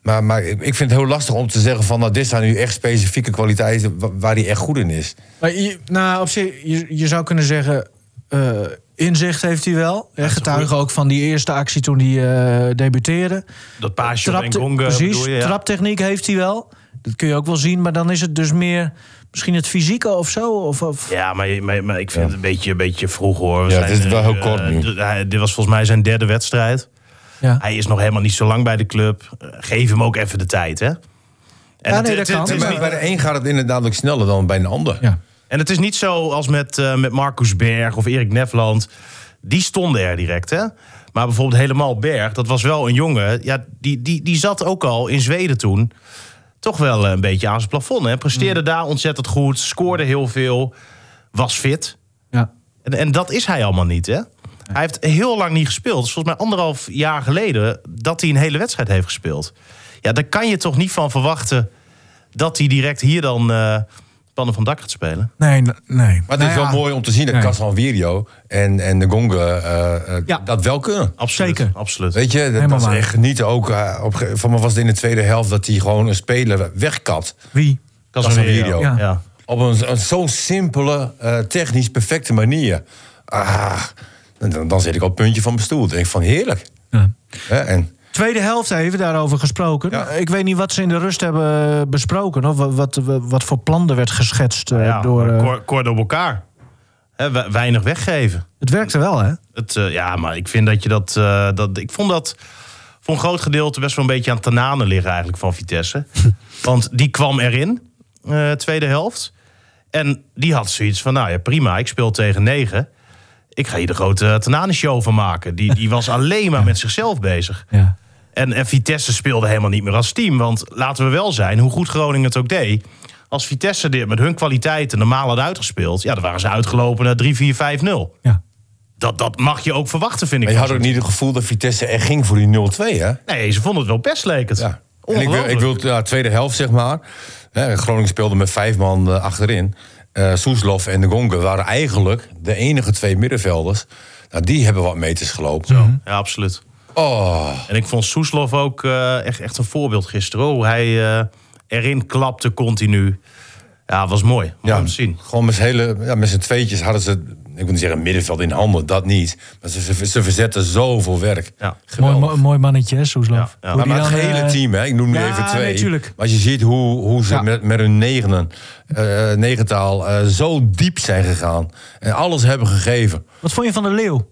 S4: Maar, maar ik ik vind het heel lastig om te zeggen van... nou, dit zijn nu echt specifieke kwaliteiten wa- waar hij echt goed in is.
S2: Maar je, nou, op zich, je, je zou kunnen zeggen... eh, inzicht heeft hij wel. Hè, getuige ook van die eerste actie toen hij eh, debuteerde.
S3: Dat paasje op
S2: Trapte-
S3: Engonga
S2: precies,
S3: bedoel je? Ja.
S2: traptechniek heeft hij wel. Dat kun je ook wel zien, maar dan is het dus meer... misschien het fysieke of zo. Of, of,
S3: Ja, maar, maar, maar ik vind het een beetje, een beetje vroeg hoor. We
S4: Ja, het is wel
S3: eh,
S4: heel kort
S3: eh,
S4: nu.
S3: d- hij- dit was volgens mij zijn derde wedstrijd.
S2: ja.
S3: Hij is nog helemaal niet zo lang bij de club. Eh, Geef hem ook even de tijd, hè? En,
S2: nee,
S3: het-
S2: dat
S3: het-
S2: kan.
S3: het is
S2: Ja,
S4: Maar
S3: niet-
S4: bij de een gaat het inderdaad ook sneller dan bij een ander.
S2: Ja.
S3: en het is niet zo als met, eh, met Marcus Berg of Erik Nefland. Die stonden er direct, hè? Maar bijvoorbeeld helemaal Berg, dat was wel een jongen. Ja, die, die, die zat ook al in Zweden toen. Toch wel eh, een beetje aan zijn plafond, hè? Presteerde daar ontzettend goed, scoorde heel veel, was fit.
S2: ja.
S3: En, en dat is hij allemaal niet, hè? Hij heeft heel lang niet gespeeld. Het is volgens mij anderhalf jaar geleden dat hij een hele wedstrijd heeft gespeeld. Ja, daar kan je toch niet van verwachten dat hij direct hier dan eh, Pannen van Dak gaat spelen.
S2: Nee, n- nee.
S4: Maar het is
S2: Nou ja,
S4: wel mooi om te zien dat
S2: Nee.
S4: Caslan Virio en, en de Gonga eh, eh,
S2: Ja.
S4: dat wel kunnen.
S3: Absoluut.
S2: Zeker.
S3: Absoluut.
S4: Weet je, dat,
S2: Helemaal
S4: dat is
S2: waar.
S4: echt genieten. Ook, eh, op, ge- van me was het in de tweede helft dat hij gewoon een speler wegkapt.
S2: Wie?
S4: Casemiro.
S3: Casemiro,
S2: Ja.
S3: ja.
S4: Op een, een zo'n simpele, eh, technisch perfecte manier. Ah, dan, dan zit ik op het puntje van mijn stoel. Denk van heerlijk.
S2: Ja.
S4: Hè, en
S2: Tweede helft even daarover gesproken.
S4: Ja.
S2: Ik weet niet wat ze in de rust hebben besproken. Of wat, wat, wat voor plan er werd geschetst. eh,
S3: Nou Ja,
S2: door,
S3: maar
S2: eh,
S3: kort- kort op elkaar. Hè, we- weinig weggeven.
S2: het werkte wel, hè?
S3: Het, eh, ja, maar ik vind dat je dat, eh, dat... Ik vond dat voor een groot gedeelte best wel een beetje aan tananen liggen eigenlijk
S2: (laughs)
S3: van Vitesse. Want die kwam erin, eh, tweede helft. En die had zoiets van, nou ja, prima, ik speel tegen negen. Ik ga hier de grote eh, tananenshow van maken. Die, die
S2: (laughs)
S3: was alleen maar met zichzelf bezig.
S2: Ja.
S3: En, en Vitesse speelde helemaal niet meer als team. Want laten we wel zijn, hoe goed Groningen het ook deed... als Vitesse dit met hun kwaliteiten normaal had uitgespeeld... ja, dan waren ze uitgelopen naar 3-4-5-0
S2: ja.
S3: dat, dat mag je ook verwachten, vind ik.
S4: maar je had
S3: van
S4: ook
S3: zo'n
S4: niet het gevoel dat Vitesse echt ging voor die 0-2, hè?
S3: team. Nee, ze vonden het wel best, leek het.
S4: Ja. En ik wil,
S3: Ongelooflijk.
S4: ik wil ja, tweede helft, zeg maar. Hè, Groningen speelde met vijf man eh, achterin. Eh Soeslof en de Gonge waren eigenlijk de enige twee middenvelders. Nou, die hebben wat meters gelopen.
S3: Ja, absoluut.
S4: Oh,
S3: En ik vond Soeslof ook eh, echt, echt een voorbeeld gisteren. hoor. Hoe hij eh, erin klapte continu. Ja, was mooi. Mooi
S4: ja,
S3: om te zien.
S4: gewoon met z'n, hele, ja, met z'n tweetjes hadden ze... Ik wil niet zeggen middenveld in handen, dat niet. Maar ze, ze, ze verzetten zoveel werk.
S3: Ja.
S2: Mooi,
S4: Geweldig.
S2: mooi, mooi mannetje, hè, Soeslof.
S3: Ja, ja.
S2: Hoe
S4: Maar,
S2: die
S4: maar het
S2: dan,
S4: hele
S2: eh,
S4: team, hè? ik noem nu
S2: ja,
S4: even twee.
S2: nee, tuurlijk.
S4: Maar als je ziet hoe, hoe ze
S2: Ja.
S4: met, met hun negenen, eh, negentaal eh, zo diep zijn gegaan. En alles hebben gegeven.
S2: Wat vond je van de Leeuw?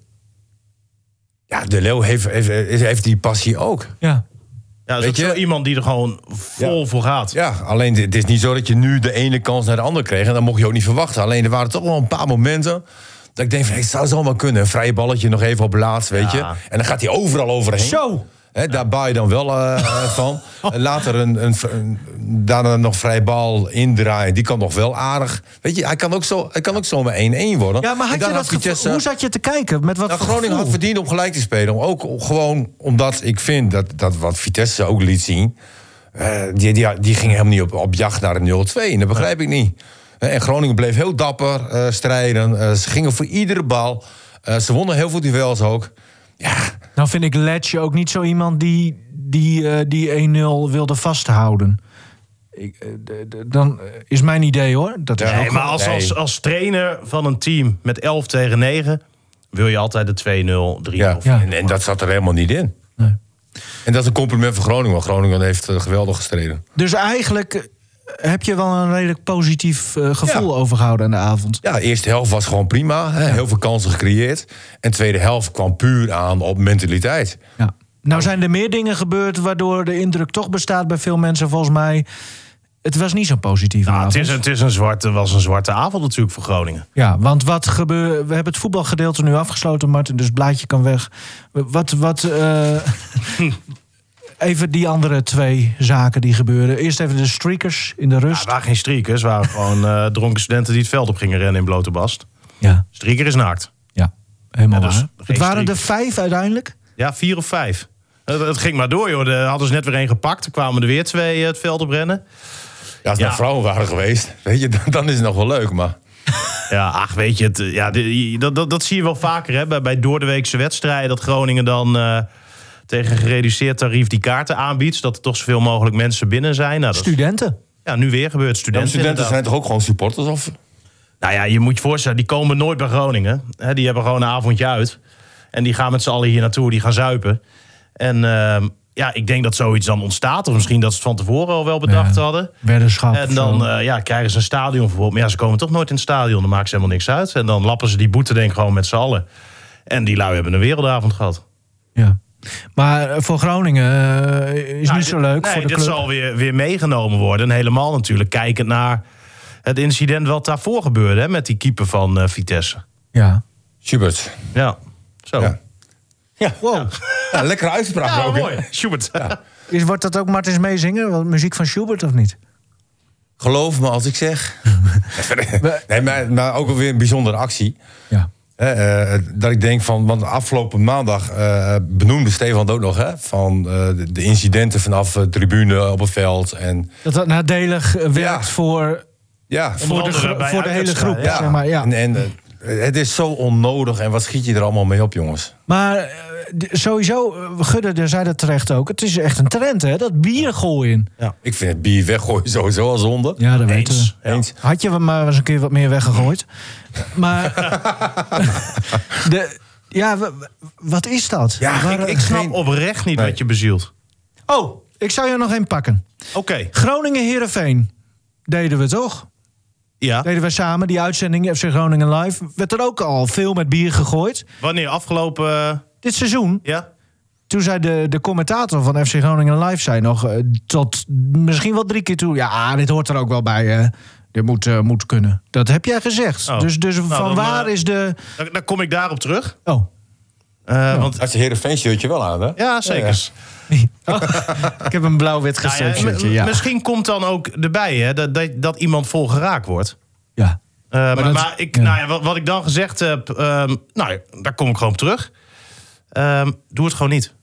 S4: Ja, De Leeuw heeft, heeft, heeft die passie ook.
S2: Ja.
S3: Ja, dat is
S4: Weet
S3: ook
S4: je-
S3: zo iemand die er gewoon vol
S4: Ja.
S3: voor gaat.
S4: Ja, alleen dit- het is niet zo dat je nu de ene kans naar de andere kreeg. En dat mocht je ook niet verwachten. Alleen er waren toch wel een paar momenten... dat ik denk van, hey, het zou zomaar kunnen. Een vrije balletje nog even op laatst, weet je.
S3: Ja.
S4: En dan gaat hij overal overheen.
S2: Zo! Oh.
S4: Hè, daar baal je dan wel eh, eh,
S2: (laughs)
S4: van. En Later een, een, een- daarna nog vrij bal indraaien. Die kan nog wel aardig. Weet je, hij kan ook, zo, hij kan ook zomaar 1-1 worden.
S2: Ja, maar
S4: En
S2: had
S4: dan
S2: je dat
S4: Vitesse-
S2: gevoel? Hoe zat je te kijken? Met wat
S4: nou,
S2: voor
S4: Groningen had
S2: gevoel?
S4: verdiend om gelijk te spelen. Ook gewoon omdat ik vind dat, dat wat Vitesse ook liet zien. eh, die, die, die ging helemaal niet op, op jacht naar een 0-2. En dat begrijp ik niet. Eh, En Groningen bleef heel dapper eh, strijden. Eh, ze gingen voor iedere bal. Eh, ze wonnen heel veel duels ook. Ja,
S2: Nou vind ik Letje ook niet zo iemand die die, eh, die 1-0 wilde vasthouden. Ik, eh, d- d- dan eh, is mijn idee hoor. Dat is
S4: Ja,
S2: ook
S3: Nee, maar als,
S4: Nee.
S3: als, als trainer van een team met 11 tegen 9... wil je altijd de 2-0, 3-0.
S4: ja.
S2: Ja.
S4: En, en dat zat er helemaal niet in.
S2: Nee.
S4: En dat is een compliment voor Groningen. want Groningen heeft eh, geweldig gestreden.
S2: Dus eigenlijk eh, heb je wel een redelijk positief eh, gevoel
S4: Ja.
S2: overgehouden aan de avond.
S4: Ja, de eerste helft was gewoon prima. Hè, heel veel kansen gecreëerd. En de tweede helft kwam puur aan op mentaliteit.
S2: Ja. Nou zijn er meer dingen gebeurd waardoor de indruk toch bestaat bij veel mensen volgens mij. Het was niet zo'n positieve
S3: Nou,
S2: avond.
S3: het is, het is een zwarte, was een zwarte avond natuurlijk voor Groningen.
S2: Ja, want wat gebeurt. We hebben het voetbalgedeelte nu afgesloten, Martin, dus het blaadje kan weg. Wat. wat eh, (laughs) even die andere twee zaken die gebeuren. Eerst even de streakers in de
S4: Dus-
S3: Ja,
S2: rust.
S3: het waren geen streakers, het waren gewoon eh, dronken studenten... die het veld op gingen rennen in blote bast.
S2: Ja,
S3: Streaker is naakt.
S2: ja. helemaal
S3: Ja, dus
S2: waar.
S3: geen
S2: Het waren er
S3: streakers.
S2: vijf uiteindelijk.
S3: Ja, vier of vijf. Het, het ging maar door, joh. Er hadden ze net weer één gepakt. Er kwamen er weer twee eh, het veld op rennen.
S4: Ja, als er
S3: Ja.
S4: nou vrouwen waren geweest, weet je, dan, dan is het nog wel leuk. Maar
S3: Ja, ach, weet je, het, eh, ja, de- dat, dat, dat zie je wel vaker hè, bij, bij doordeweekse wedstrijden. Dat Groningen dan eh, tegen een gereduceerd tarief die kaarten aanbiedt. Zodat er toch zoveel mogelijk mensen binnen zijn. Nou, dat is,
S2: Studenten.
S3: ja, nu weer gebeurt.
S4: Ja, maar
S3: Studenten,
S4: studenten
S3: inderdaad.
S4: zijn toch ook gewoon supporters? Of?
S3: Nou ja, je moet je voorstellen, die komen nooit bij Groningen. Hè, die hebben gewoon een avondje uit. En die gaan met z'n allen hier naartoe, die gaan zuipen. En ehm, ja, ik denk dat zoiets dan ontstaat. Of misschien dat ze het van tevoren al wel bedacht
S2: Ja.
S3: hadden.
S2: Weddenschap.
S3: En dan eh, ja, krijgen ze een stadion bijvoorbeeld. Maar ja, ze komen toch nooit in het stadion. Dan maakt ze helemaal niks uit. En dan lappen ze die boete denk ik gewoon met z'n allen. En die lui hebben een wereldavond gehad.
S2: Ja. Maar eh, voor Groningen eh, is
S3: Nou,
S2: niet
S3: dit-
S2: zo leuk.
S3: Nee,
S2: voor de
S3: dit
S2: club.
S3: zal weer, weer meegenomen worden. En helemaal natuurlijk kijkend naar het incident wat daarvoor gebeurde. Hè, met die keeper van eh, Vitesse.
S2: Ja.
S4: Schubert.
S3: Ja, zo.
S4: Ja.
S2: Ja, wow.
S4: Ja, lekkere uitspraak
S3: Ja,
S4: ook. hè?
S3: mooi. Schubert. (laughs)
S2: Is, wordt dat ook Martins meezingen? Wat, Muziek van Schubert of niet?
S4: Geloof me als ik (laughs) zeg. nee, maar, maar ook alweer een bijzondere actie.
S2: Ja.
S4: Eh, eh, dat ik denk van, want afgelopen maandag eh, benoemde Stefan het ook nog, hè, van eh, de- eh, de incidenten vanaf de tribune op het veld. En
S2: Dat dat nadelig eh, werkt
S4: Ja.
S2: voor
S4: Ja,
S2: Voor de,
S3: andere
S2: gro-
S3: bij
S2: voor de hele
S3: uitwedstrijden,
S2: groep,
S4: ja.
S2: zeg maar. Ja.
S4: En, en eh, het is zo onnodig. En wat schiet je er allemaal mee op, jongens?
S2: Maar eh, d- sowieso, eh, Gudde daar zei dat terecht ook. Het is echt een trend, hè? Dat bier gooien.
S4: Ik vind het bier weggooien (laughs) sowieso al zonde.
S2: Ja, dat weten we.
S3: Ja.
S4: Eens.
S2: Had je hem maar eens een keer wat meer weggegooid.
S4: (laughs)
S2: Maar. de, ja, w- w- wat is dat?
S4: Ja,
S3: Ik, ik snap oprecht niet
S4: Nee.
S3: wat je bezielt.
S2: Oh, ik zou je nog één pakken.
S3: Oké,
S2: Groningen-Herenveen. Deden we toch?
S3: ja.
S2: Deden we samen die uitzending FC Groningen Live. Werd er ook al veel met bier gegooid.
S3: Wanneer afgelopen... eh,
S2: Dit seizoen,
S3: ja?
S2: toen zei de, de commentator van FC Groningen Live... zei nog eh, tot misschien wel drie keer toe... ja, dit hoort er ook wel bij, hè. Dit moet, eh, moet kunnen. Dat heb jij gezegd.
S3: Oh.
S2: Dus, dus
S3: Nou,
S2: van
S3: dan,
S2: waar
S3: eh,
S2: is de...
S3: Dan, dan kom ik daarop terug. (laughs)
S2: Oh,
S3: Eh, Want
S4: Had je Heerenveen shirtje wel aan, hè?
S3: Ja, zeker.
S2: ik heb een blauw-wit
S3: Oh. Nou ja,
S2: gestreept
S3: m-
S2: shirtje, ja.
S3: Misschien komt dan ook erbij hè, dat, dat, dat iemand vol geraakt wordt.
S2: ja.
S3: Eh, maar
S2: dat-
S3: maar ik,
S2: ja.
S3: Nou ja, wat, wat ik dan gezegd heb, ehm, nou, ja, daar kom ik gewoon op terug. Ehm, doe het gewoon niet.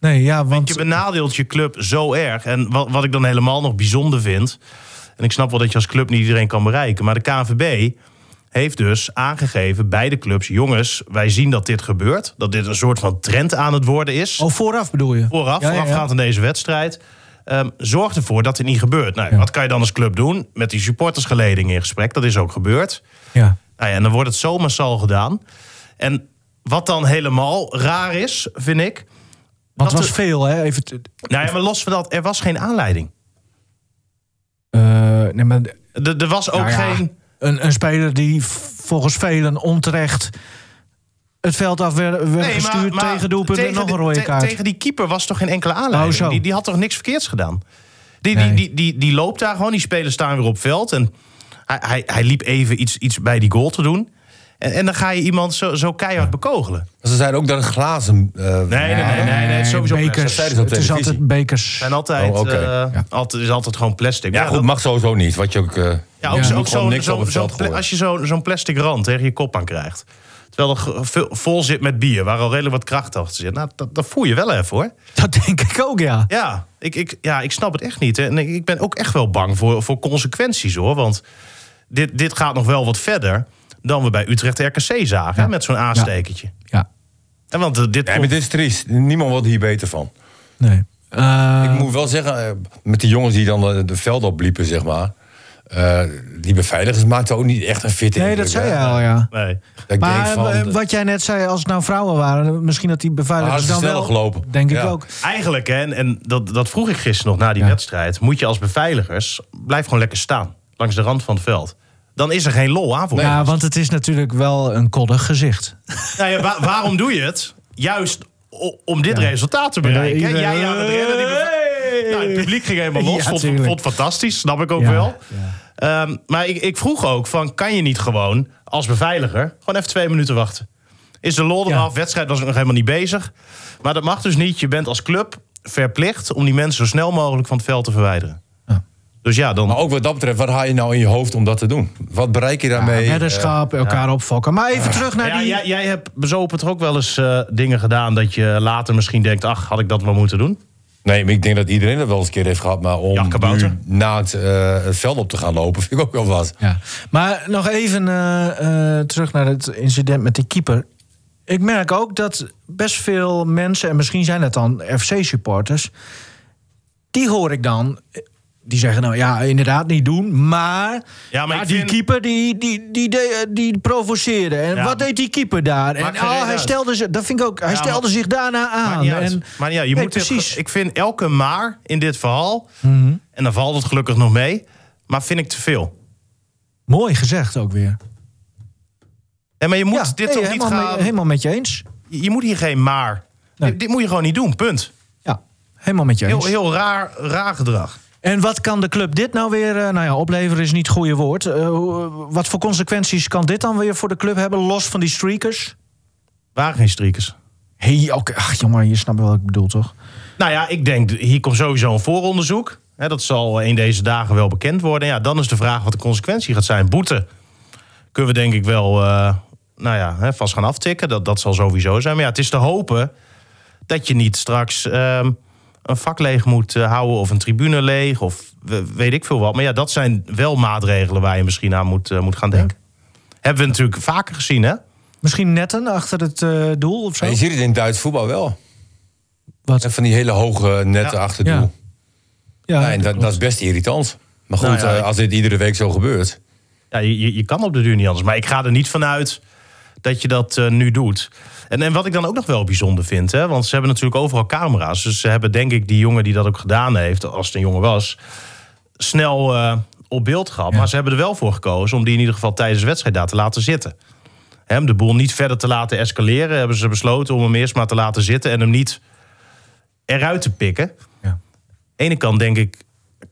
S2: Nee, ja,
S3: Je
S2: want...
S3: benadeelt je club zo erg. En wat, wat ik dan helemaal nog bijzonder vind. En ik snap wel dat je als club niet iedereen kan bereiken. Maar de KNVB heeft dus aangegeven bij de clubs: jongens, wij zien dat dit gebeurt. Dat dit een soort van trend aan het worden is.
S2: Oh, vooraf bedoel je?
S3: Vooraf,
S2: Ja, ja, ja.
S3: voorafgaand aan deze wedstrijd. ehm, zorg ervoor dat dit niet gebeurt. Nou, Wat kan je dan als club doen? Met die supportersgeleding in gesprek. Dat is ook gebeurd.
S2: Ja.
S3: Nou ja, en dan wordt het zo massaal gedaan. En wat dan helemaal raar is, vind ik.
S2: Want het
S3: dat
S2: was
S3: de-
S2: veel, hè? Even te-
S3: Nou ja, maar los van dat, er was geen aanleiding.
S2: Eh, nee, maar
S3: Er, er was ook
S2: Nou ja,
S3: geen.
S2: Een, een speler die v- volgens velen onterecht het veld af werd, werd
S3: Nee, maar-
S2: gestuurd
S3: maar
S2: tegen doelpunt en nog
S3: de-
S2: een rode
S3: te-
S2: kaart.
S3: tegen die keeper was toch geen enkele aanleiding?
S2: Oh, zo.
S3: die, die had toch niks verkeerds gedaan? Die,
S2: Nee.
S3: die, die, die, die loopt daar gewoon, die spelers staan weer op veld. En hij, hij, hij liep even iets, iets bij die goal te doen. En, en dan ga je iemand zo, zo keihard bekogelen.
S4: Ze zeiden ook dat het glazen... eh,
S3: Nee, nee, nee, nee, nee, het is sowieso
S2: bekers.
S3: plastic.
S4: zeiden ze op
S2: het is
S4: televisie.
S2: altijd bekers.
S3: En altijd,
S4: Oh, oké.
S3: eh, altijd, is altijd gewoon plastic.
S4: Ja,
S3: Maar
S4: goed,
S3: dat-
S4: mag sowieso niet. Wat je ook... eh,
S3: Ja, ook,
S2: Ja.
S3: zo-
S4: Gewoon
S3: ook zo'n,
S4: niks op
S3: zo'n,
S4: het veld
S3: zo'n pla-
S4: gooien.
S3: als je zo'n, zo'n plastic rand tegen je kop aan krijgt. Terwijl er ge- veel- vol zit met bier, waar al redelijk wat kracht achter zit. Nou, dat, dat voel je wel even hoor.
S2: Dat denk ik ook, ja.
S3: Ja, ik, ik, ja, ik snap het echt niet. Hè. En ik, ik ben ook echt wel bang voor, voor consequenties hoor. Want dit, dit gaat nog wel wat verder dan we bij Utrecht RKC zagen. hè, Met zo'n aanstekertje.
S2: Ja,
S3: En want eh, dit
S4: Ja, maar
S3: komt-
S4: dit is triest. Niemand wordt hier beter van.
S2: nee. Eh,
S4: Ik moet wel zeggen, eh, met die jongens die dan eh, de veld opliepen, zeg maar. eh, die beveiligers maakten ook niet echt een fitte
S2: nee, dat
S4: indruk,
S2: zei
S4: hè.
S2: je al, ja.
S3: nee.
S4: Dat ik
S2: Maar
S4: denk van,
S2: eh, wat jij net zei, als het nou vrouwen waren, misschien dat die
S4: Maar
S2: beveiligers
S4: hadden Ah, ze
S2: dan wel...
S4: sneller gelopen.
S2: Denk ik
S4: Ja.
S2: ook.
S3: Eigenlijk, hè, en, en dat, dat vroeg ik gisteren nog na die
S2: Ja.
S3: wedstrijd. Moet je als beveiligers, blijf gewoon lekker staan. Langs de rand van het veld. Dan is er geen lol aan voor
S2: Ja,
S3: ons.
S2: want het is natuurlijk wel een koddig gezicht.
S3: Nou ja, wa- waarom doe je het? Juist o- om dit resultaat te bereiken. hè?
S2: iedereen-
S3: Jij aan het rennen, die beve- Nou, het publiek ging helemaal los.
S2: Ja,
S3: vond,
S2: tuurlijk.
S3: vond fantastisch, snap ik ook
S2: Ja,
S3: wel. Ehm, maar ik, ik vroeg ook, van, kan je niet gewoon als beveiliger... gewoon even twee minuten wachten? Is de lol
S2: Ja.
S3: eraf? Wedstrijd was nog helemaal niet bezig. Maar dat mag dus niet. Je bent als club verplicht om die mensen zo snel mogelijk van het veld te verwijderen. Dus ja, dan...
S4: Maar ook wat dat betreft, wat haal je nou in je hoofd om dat te doen? Wat bereik je daarmee? eh,
S2: Weddenschap, elkaar opfokken. Maar even terug naar
S3: Ja,
S2: die...
S3: jij, jij hebt bezopen toch ook wel eens eh, dingen gedaan... dat je later misschien denkt, ach, had ik dat wel moeten doen?
S4: Nee, maar ik denk dat iedereen dat wel eens een keer heeft gehad. Maar om
S3: Ja, kabouter.
S4: nu na het, eh, het veld op te gaan lopen, vind ik ook wel wat.
S2: Ja. Maar nog even eh, eh, terug naar het incident met die keeper. Ik merk ook dat best veel mensen, en misschien zijn dat dan FC-supporters, die hoor ik dan. eh, Die zeggen nou ja, inderdaad niet doen, maar,
S3: Ja, maar ik
S2: die
S3: vind-
S2: keeper die, die, die, die, die provoceerde. En
S3: Ja,
S2: wat
S3: maar-
S2: deed die keeper daar? En
S3: Maakt geen
S2: oh,
S3: reet
S2: hij
S3: uit.
S2: stelde zich, dat vind ik ook, hij
S3: Ja,
S2: stelde
S3: maar-
S2: zich daarna
S3: Maakt
S2: aan.
S3: niet uit.
S2: En,
S3: maar ja, je
S2: Nee,
S3: moet
S2: precies. Mhm.
S3: precies. Ik vind elke maar in dit verhaal, en dan valt het gelukkig nog mee, maar vind ik te veel.
S2: Mooi gezegd ook weer.
S3: En maar je moet dit
S2: nee,
S3: toch niet
S2: helemaal,
S3: gaan.
S2: mee- helemaal met je eens.
S3: Je moet hier geen maar.
S2: Nee.
S3: Dit, dit moet je gewoon niet doen. Punt.
S2: Ja, helemaal met je eens.
S3: Heel, heel raar, raar gedrag.
S2: En wat kan de club dit nou weer, eh, nou ja, opleveren is niet het goede woord. Eh, hoe- wat voor consequenties kan dit dan weer voor de club hebben, los van die streakers?
S3: Waren geen strikers.
S2: Hé, hey, oké, ach jongen, je snapt wel wat ik bedoel, toch?
S3: Nou ja, ik denk, hier komt sowieso een vooronderzoek. Hè, dat zal in deze dagen wel bekend worden. Ja, dan is de vraag wat de consequentie gaat zijn. Boete kunnen we denk ik wel eh, nou ja, hè, vast gaan aftikken. Dat, dat zal sowieso zijn. Maar ja, het is te hopen dat je niet straks ehm, een vak leeg moet eh, houden of een tribune leeg of we- weet ik veel wat. Maar ja, dat zijn wel maatregelen waar je misschien aan moet, eh, moet gaan denken. Hebben we natuurlijk vaker gezien, hè?
S2: Misschien netten achter het eh, doel of zo?
S4: Maar je ziet het in Duits voetbal wel.
S2: Wat?
S4: En Van die hele hoge netten
S3: Ja.
S4: achter
S2: Ja.
S4: doel.
S2: Ja,
S4: Ja, en dat, dat is best irritant. Maar goed,
S3: Nou ja,
S4: eh,
S3: ik-
S4: als dit iedere week zo gebeurt.
S3: Ja, je, je- je kan op de duur niet anders. Maar ik ga er niet vanuit dat je dat eh, nu doet. En, en wat ik dan ook nog wel bijzonder vind, hè, want ze hebben natuurlijk overal camera's. Dus ze hebben denk ik die jongen die dat ook gedaan heeft, als het een jongen was, snel eh, op beeld gehad. Maar ze hebben er wel voor gekozen om die in ieder geval tijdens de wedstrijd daar te laten zitten. Hem de boel niet verder te laten escaleren, hebben ze besloten om hem eerst maar te laten zitten en hem niet eruit te pikken.
S2: Ja.
S3: ene kant denk ik,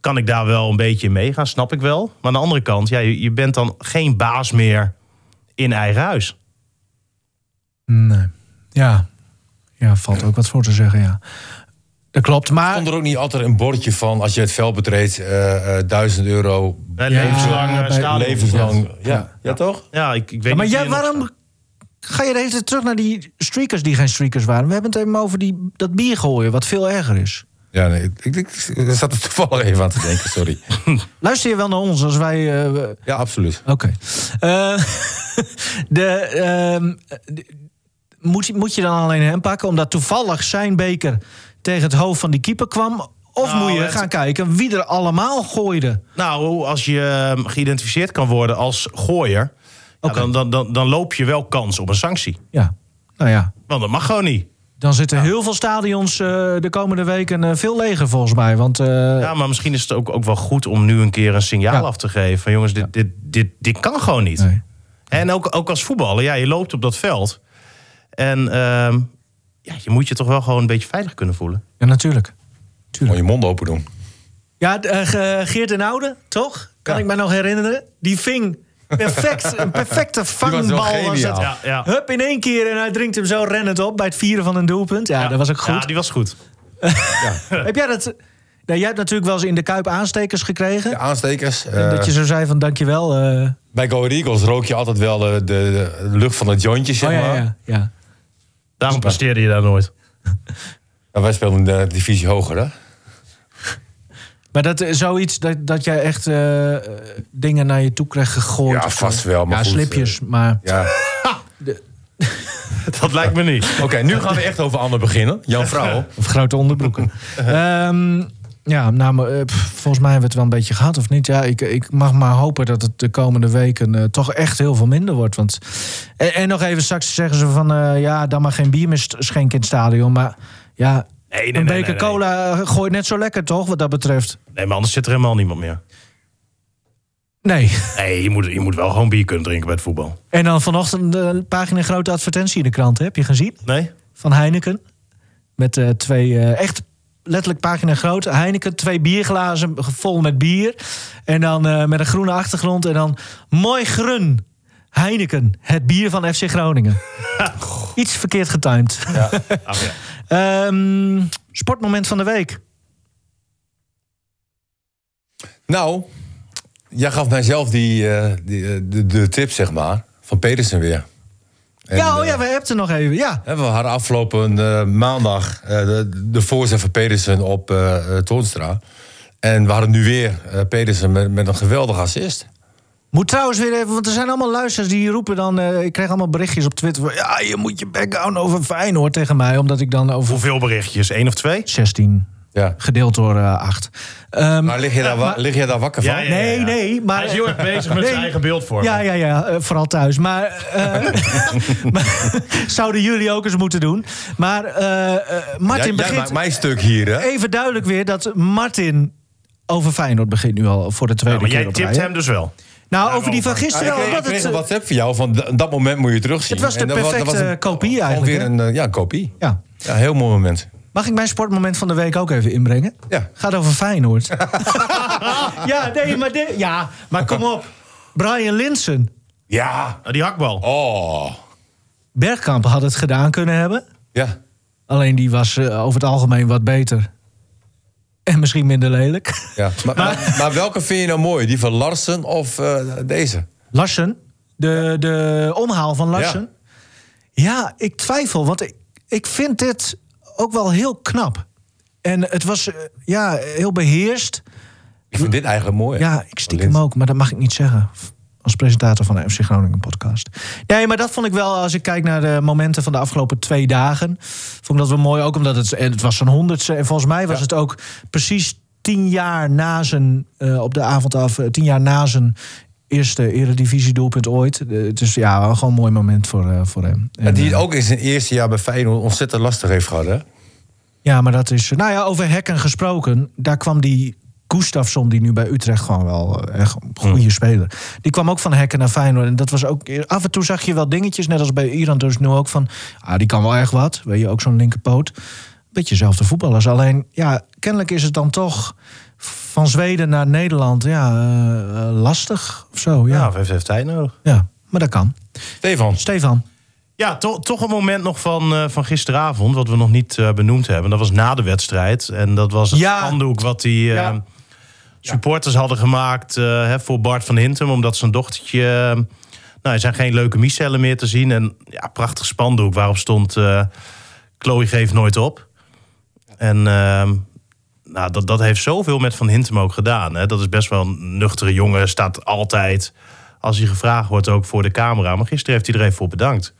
S3: kan ik daar wel een beetje in meegaan, snap ik wel. Maar aan de andere kant, ja, je, je bent dan geen baas meer in eigen huis.
S2: Nee. Ja. ja, valt ook wat voor te zeggen, ja. Dat klopt, maar...
S4: Stond er ook niet altijd een bordje van als je het veld betreedt, eh, eh, 1000 euro
S3: Bij
S2: Ja,
S3: levenslang eh,
S2: bij-
S3: stadion.
S4: levenslang. Ja, ja. toch?
S3: Ja, ik, ik weet
S2: maar
S3: niet
S2: jij,
S3: wie er nog
S2: waarom
S3: staat.
S2: ga je de hele tijd terug naar die streakers die geen streakers waren? We hebben het even over die, dat bier gooien, wat veel erger is.
S4: Ja, nee, ik, ik, ik- ik zat er toevallig even aan te denken, sorry.
S2: Luister je wel naar ons als wij... eh, we-
S4: Ja, absoluut.
S2: Oké. Eh, (laughs) de, ehm, de- moet, moet je dan alleen hem pakken omdat toevallig zijn beker tegen het hoofd van die keeper kwam? Of
S3: Nou,
S2: moet je
S3: het-
S2: gaan kijken wie er allemaal gooide?
S3: Nou, als je eh, geïdentificeerd kan worden als gooier... ja,
S2: Oké.
S3: dan, dan, dan, dan loop je wel kans op een sanctie.
S2: Ja, nou ja.
S3: Want dat mag gewoon niet.
S2: Dan zitten heel veel stadions eh, de komende weken eh, veel leger volgens mij. Want eh,
S3: Ja, maar misschien is het ook, ook wel goed om nu een keer een signaal
S2: Ja.
S3: af te geven. Van jongens, dit, dit, dit, dit kan gewoon niet.
S2: nee.
S3: En ook, ook als voetballer, ja, je loopt op dat veld. En ehm, ja, je moet je toch wel gewoon een beetje veilig kunnen voelen.
S2: ja, natuurlijk.
S4: Moet je mond open doen.
S2: Ja, d- eh, Ge- Geert den Oude, toch? Kan ik me nog herinneren. Die ving
S4: (laughs)
S2: perfect, een perfecte vangbal. was
S4: geniaal.
S2: het.
S3: Ja, ja.
S2: Hup, in één keer en hij drinkt hem zo rennend op bij het vieren van een doelpunt. Ja, dat was ook goed.
S3: Ja, die was goed.
S2: Heb jij dat... Nou, jij hebt natuurlijk wel eens in de Kuip aanstekers gekregen.
S4: De aanstekers.
S2: En
S4: eh,
S2: dat je zo zei van dankjewel. eh
S4: Bij Go Ahead Eagles rook je altijd wel eh, de, de lucht van het jointje, zeg
S2: oh
S4: maar.
S2: ja, ja, ja.
S3: Daarom presteerde je daar nooit. (laughs)
S4: Nou, wij spelen in de divisie hoger, hè?
S2: Maar dat eh, zoiets dat, dat jij echt eh, eh, dingen naar je toe kreeg gegooid.
S4: Ja,
S2: of zo.
S4: vast wel, maar
S2: ja,
S4: goed, eh,
S2: slipjes, maar...
S4: Ja.
S3: Dat lijkt me niet.
S4: Oké, nu gaan we echt over Anne beginnen. Jan Vrouw.
S2: Of grote
S3: (laughs)
S2: onderbroeken. Ehm, ja, nou, maar, eh, pff, volgens mij hebben we het wel een beetje gehad, of niet? Ja, ik, ik mag maar hopen dat het de komende weken eh, toch echt heel veel minder wordt. Want... En, en nog even straks zeggen ze van... eh, ja, dan maar geen bier meer st- schenken in het stadion. Maar ja,
S3: Nee, nee,
S2: een
S3: nee,
S2: beker
S3: nee, nee.
S2: cola eh, gooit net zo lekker, toch? Wat dat betreft.
S3: Nee, maar anders zit er helemaal niemand meer.
S2: Nee.
S3: Nee, je moet, je moet wel gewoon bier kunnen drinken bij het voetbal.
S2: (laughs) En dan vanochtend eh, een pagina grote advertentie in de krant. hè? Heb je gezien?
S3: Nee?
S2: van Heineken. Met eh, twee, eh, echt letterlijk pagina groot. Heineken, twee bierglazen vol met bier. En dan eh, met een groene achtergrond. En dan mooi grun. Heineken, het bier van FC
S3: (laughs)
S2: Groningen. Iets verkeerd getimed. (laughs)
S3: Ach, ja.
S2: Ehm, sportmoment van de week.
S4: Nou, jij gaf mijzelf die, eh, die, eh, de, de tip, zeg maar, van Pedersen weer. En,
S2: ja, oh
S4: eh,
S2: ja, we hebben het er nog even. Ja,
S4: hè, we hadden afgelopen eh, maandag eh, de, de voorzet van Pedersen op eh eh, Toornstra. En we hadden nu weer eh, Pedersen met, met een geweldig assist.
S2: moet trouwens weer even, want er zijn allemaal luisteraars die roepen dan. eh, ik krijg allemaal berichtjes op Twitter. Van, ja, je moet je back houden over Feyenoord tegen mij, omdat ik dan over
S3: Hoeveel berichtjes? Eén of twee?
S2: 16
S4: Ja.
S2: gedeeld door eh, Ehm, 8.
S4: Maar lig je daar, wa- lig je daar wakker van?
S3: Ja, ja.
S2: Nee, nee, maar...
S3: Hij is heel erg bezig met zijn eigen beeldvorming.
S2: Ja, ja, ja, eh, vooral thuis. Maar, eh, (laughs) maar zouden jullie ook eens moeten doen. Maar eh, eh,
S4: Jij,
S2: Martin
S4: jij
S2: begint...
S4: maakt mijn stuk hier, hè?
S2: Even duidelijk weer dat Martin over Feyenoord begint nu al voor de tweede
S3: Maar
S2: keer
S3: jij
S2: op
S3: tipt
S2: rij, hè?
S3: hem dus wel.
S2: Nou, over die van
S4: Ja, ik
S2: gisteren...
S4: kreeg, ik
S2: omdat
S4: kreeg
S2: het,
S4: een
S2: eh,
S4: WhatsApp van jou van d- dat moment moet je terugzien.
S2: Het was de
S4: En dat wa- dat
S2: perfecte
S4: een-
S2: kopie
S4: gewoon
S2: eigenlijk,
S4: Weer
S2: hè?
S4: een, eh, ja, een kopie.
S2: ja.
S4: Ja, heel mooi moment.
S2: Mag ik mijn sportmoment van de week ook even inbrengen?
S4: Ja.
S2: Gaat over Feyenoord. (laughs) ja, nee, maar, de- ja, maar kom op. Brian Linsen.
S4: Ja.
S3: Nou, die hakbal.
S4: Oh.
S2: Bergkamp had het gedaan kunnen hebben.
S4: Ja.
S2: Alleen die was eh, over het algemeen wat beter. En misschien minder lelijk.
S4: ja. Maar, maar, maar welke vind je nou mooi? Die van Larsen of eh, deze?
S2: Larsen, de, de omhaal van Larsen. Ja, ik twijfel, want ik, ik vind dit ook wel heel knap. En het was eh, ja, heel beheerst.
S4: Ik vind dit eigenlijk mooi.
S2: Ja, ik stiekem
S4: Lint.
S2: ook, maar dat mag ik niet zeggen. Als presentator van de FC Groningen podcast. Nee, maar dat vond ik wel, als ik kijk naar de momenten van de afgelopen twee dagen. Vond ik dat wel mooi, ook omdat het, en het was zijn honderdste. En volgens mij was het ook precies tien jaar na zijn, eh, op de avond af, eh, tien jaar na zijn eerste eredivisie doelpunt ooit. Eh, Dus ja, gewoon een mooi moment voor, eh, voor hem.
S4: En
S2: En,
S4: die
S2: eh,
S4: het ook in zijn eerste jaar bij Feyenoord ontzettend lastig heeft gehad. Hè?
S2: Ja, maar dat is. Nou ja, over hekken gesproken. Daar kwam die Gustafsson, die nu bij Utrecht gewoon wel eh, echt een goede speler. Die kwam ook van hekken naar Feyenoord. En dat was ook. Af en toe zag je wel dingetjes, net als bij Iran dus nu ook van. Ah, die kan wel echt wat. Weet je, ook zo'n linkerpoot. Beetje zelfde voetballers. Alleen, ja, kennelijk is het dan toch van Zweden naar Nederland. Ja, eh, eh, lastig of zo.
S3: Ja,
S2: Ja.
S3: of heeft, heeft hij nou? nodig?
S2: ja. maar dat kan.
S4: Stefan,
S2: Stefan.
S3: Ja, to- toch een moment nog van, eh, van gisteravond, wat we nog niet eh, benoemd hebben. Dat was na de wedstrijd. En dat was het
S2: Ja.
S3: spandoek wat die eh,
S2: Ja.
S3: supporters hadden gemaakt eh, hè, voor Bart van Hintem. Omdat zijn dochtertje... eh, nou, er zijn geen leuke miecellen meer te zien. En ja, prachtig spandoek waarop stond... eh Chloe geeft nooit op. En eh, nou, dat, dat heeft zoveel met Van Hintem ook gedaan. Hè. Dat is best wel een nuchtere jongen. Staat altijd, als hij gevraagd wordt, ook voor de camera. Maar gisteren heeft hij er even voor bedankt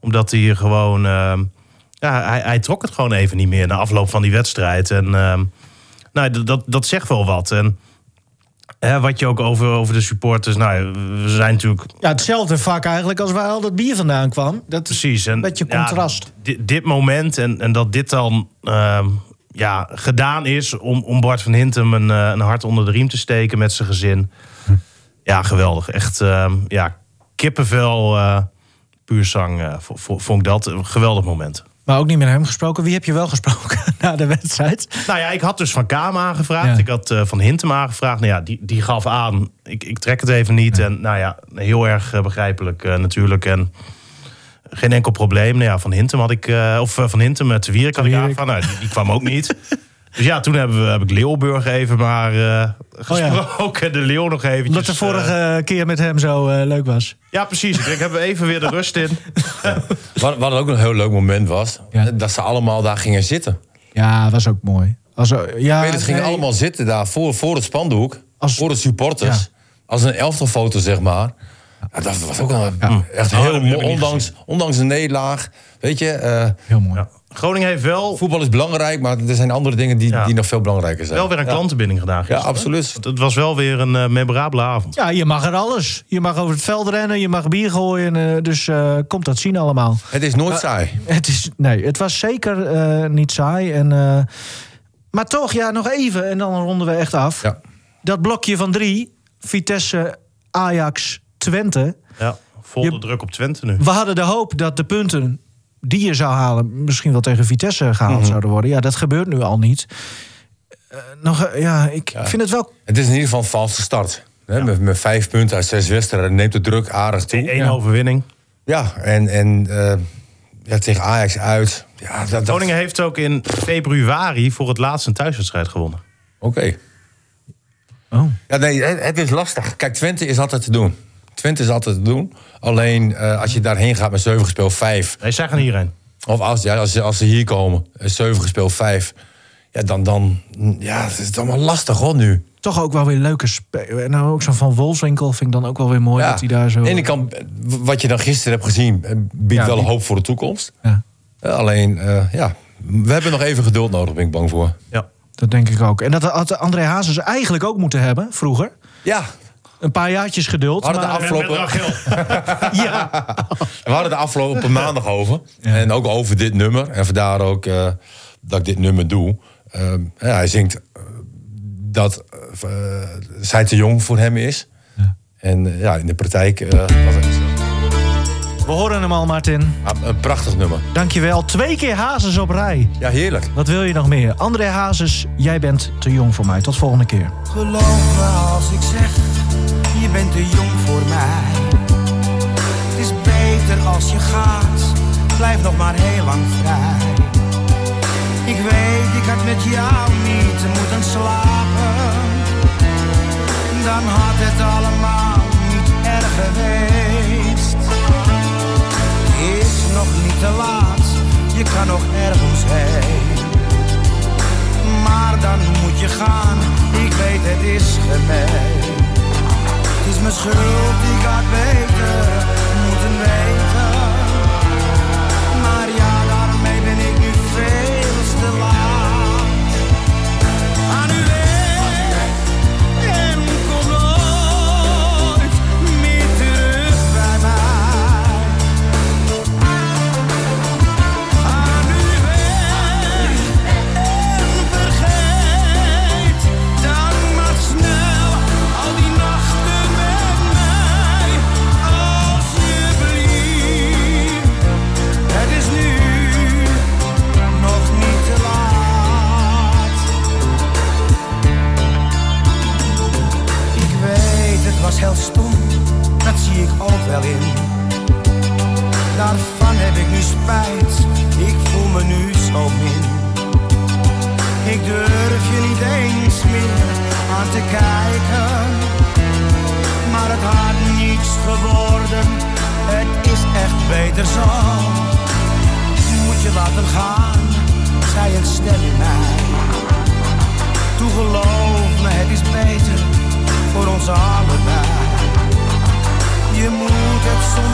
S3: omdat hij hier gewoon. ehm, ja, hij, hij trok het gewoon even niet meer na afloop van die wedstrijd. En ehm, nou, d- dat, dat zegt wel wat. En hè, wat je ook over, over de supporters. Nou, we zijn natuurlijk.
S2: Ja, hetzelfde vak eigenlijk als waar al dat bier vandaan kwam. Dat
S3: Precies. En,
S2: Beetje contrast.
S3: Ja, di- dit moment en, en dat dit dan ehm, ja, gedaan is om, om Bart van Hintem een, eh, een hart onder de riem te steken met zijn gezin. Ja, geweldig. Echt ehm, ja, kippenvel, eh puur zang. eh, vo- vo- vond ik dat een geweldig moment.
S2: Maar ook niet met hem gesproken. Wie heb je wel gesproken (laughs) na de wedstrijd?
S3: Nou ja, ik had dus Van Kaam aangevraagd.
S2: Ja.
S3: Ik had eh, Van Hintem aangevraagd. Nou ja, die, die gaf aan, ik, ik trek het even niet. En nou ja, heel erg eh, begrijpelijk eh, natuurlijk. En geen enkel probleem. Nou ja, Van Hintem had ik... eh, of eh, Van Hintem met Wierik had ik
S2: Wierik.
S3: aangevraagd. Nou, die, die kwam ook niet. (laughs) Dus ja, toen hebben we, heb ik Leeuwburg even maar eh, gesproken. De Leeuw nog eventjes.
S2: Oh Omdat de
S3: eh,
S2: vorige keer met hem zo eh, leuk was.
S3: ja, precies. Ik denk, hebben we even weer de
S2: (laughs)
S3: rust in.
S4: wat, wat ook een heel leuk moment was,
S2: Ja.
S4: dat ze allemaal daar gingen zitten.
S2: Ja, was ook mooi. Als, ja,
S4: Spelers gingen
S2: nee.
S4: allemaal zitten daar voor, voor het spandoek,
S2: Als-
S4: voor de supporters.
S2: Ja.
S4: Als een elftalfoto, zeg maar. Ja, dat was ook wel echt
S3: Oh, dat
S4: heel
S3: heb ik
S4: mooi.
S3: niet
S4: Ondanks, ondanks een nederlaag. Weet je, eh,
S2: Heel mooi.
S3: Ja. Groningen heeft wel,
S4: voetbal is belangrijk, maar er zijn andere dingen die,
S3: Ja.
S4: die nog veel belangrijker zijn.
S3: wel weer een klantenbinding gedaan
S4: Ja,
S3: gisteren.
S4: absoluut.
S3: Het was wel weer een eh, memorabele avond.
S2: Ja, je mag er alles. Je mag over het veld rennen, je mag bier gooien. eh, dus eh, komt dat zien allemaal.
S4: Het is nooit saai.
S2: Het is, nee, het was zeker eh, niet saai. En, eh, maar toch, ja, nog even en dan ronden we echt af.
S4: Ja.
S2: Dat blokje van drie, Vitesse, Ajax, Twente.
S3: Ja, vol
S2: Je-
S3: de druk op Twente nu.
S2: We hadden de hoop dat de punten die je zou halen... misschien wel tegen Vitesse gehaald
S4: Mhm.
S2: zouden worden. Ja, dat gebeurt nu al niet. Eh, nog, eh, ja, ik vind het wel...
S4: Het is in ieder geval een valse start. Hè, met, met vijf punten uit zes wedstrijden neemt de druk aardig toe.
S3: Eén overwinning.
S4: Ja, en, en eh, ja, tegen Ajax uit. Ja, dat, dat-
S3: Groningen heeft ook in februari voor het laatst een thuiswedstrijd gewonnen.
S4: Oké.
S2: Oh.
S4: Ja, nee, het, het is lastig. Kijk, Twente is altijd te doen. Twente is altijd te doen. Alleen eh, als je daarheen gaat met 7 gespeeld 5.
S3: Nee, zij gaan hierheen.
S4: Of als, ja, als, ze- als ze hier komen, 7 gespeeld 5. Ja, dan, dan ja, het is allemaal lastig hoor nu.
S2: Toch ook wel weer leuke spelen. En nou ook zo van Wolfswinkel vind ik dan ook wel weer mooi
S4: Ja,
S2: dat hij daar zo...
S4: Aan de ene kant, eh, wat je dan gisteren hebt gezien, eh, biedt
S2: Ja,
S4: wel
S2: die-
S4: hoop voor de toekomst.
S2: Ja,
S4: Eh, alleen, eh, ja, we hebben nog even geduld nodig, ben ik bang voor.
S3: Ja.
S2: dat denk ik ook. En dat had André Hazes eigenlijk ook moeten hebben, vroeger.
S4: Ja,
S2: Een paar jaartjes geduld.
S4: Hadden de
S2: maar-
S4: af- Afgelopen-
S3: Met Rachel.
S2: ja.
S4: we hadden de (laughs) afgelopen maandag over. En ook over dit nummer. En vandaar ook eh, dat ik dit nummer doe. Ehm, ja, hij zingt eh, dat eh, zij te jong voor hem is. En eh, ja, in de praktijk eh, was het
S2: We horen hem al, Martin.
S4: ah, een prachtig nummer.
S2: Dankjewel. Twee keer Hazes op rij.
S4: Ja, heerlijk.
S2: Wat wil je nog meer? André Hazes, jij bent te jong voor mij. Tot volgende keer.
S5: Geloof me als ik zeg, je bent te jong voor mij. Het is beter als je gaat, blijf nog maar heel lang vrij. Ik weet, ik had met jou niet moeten slapen. Dan had het allemaal niet erg geweest. Het Is nog niet te laat, je kan nog ergens heen. schuld, ik had beter moeten weten. Maar ja, daarmee ben ik nu veel te laat. Aan u weg en kom nooit meer terug bij mij. Aan u weg en vergeet dan maar snel al die nachten met mij, alsjeblieft. Het is nu nog niet te laat. Ik weet, het was heel stom, dat zie ik ook wel in. Daarvan heb ik nu spijt, ik voel me nu zo min. Ik durf je niet eens meer aan te kijken. Maar het had niets geworden, het is echt beter zo. Moet je laten gaan, zei een stem in mij. Toen geloof me, het is beter voor ons allebei. Je moet het soms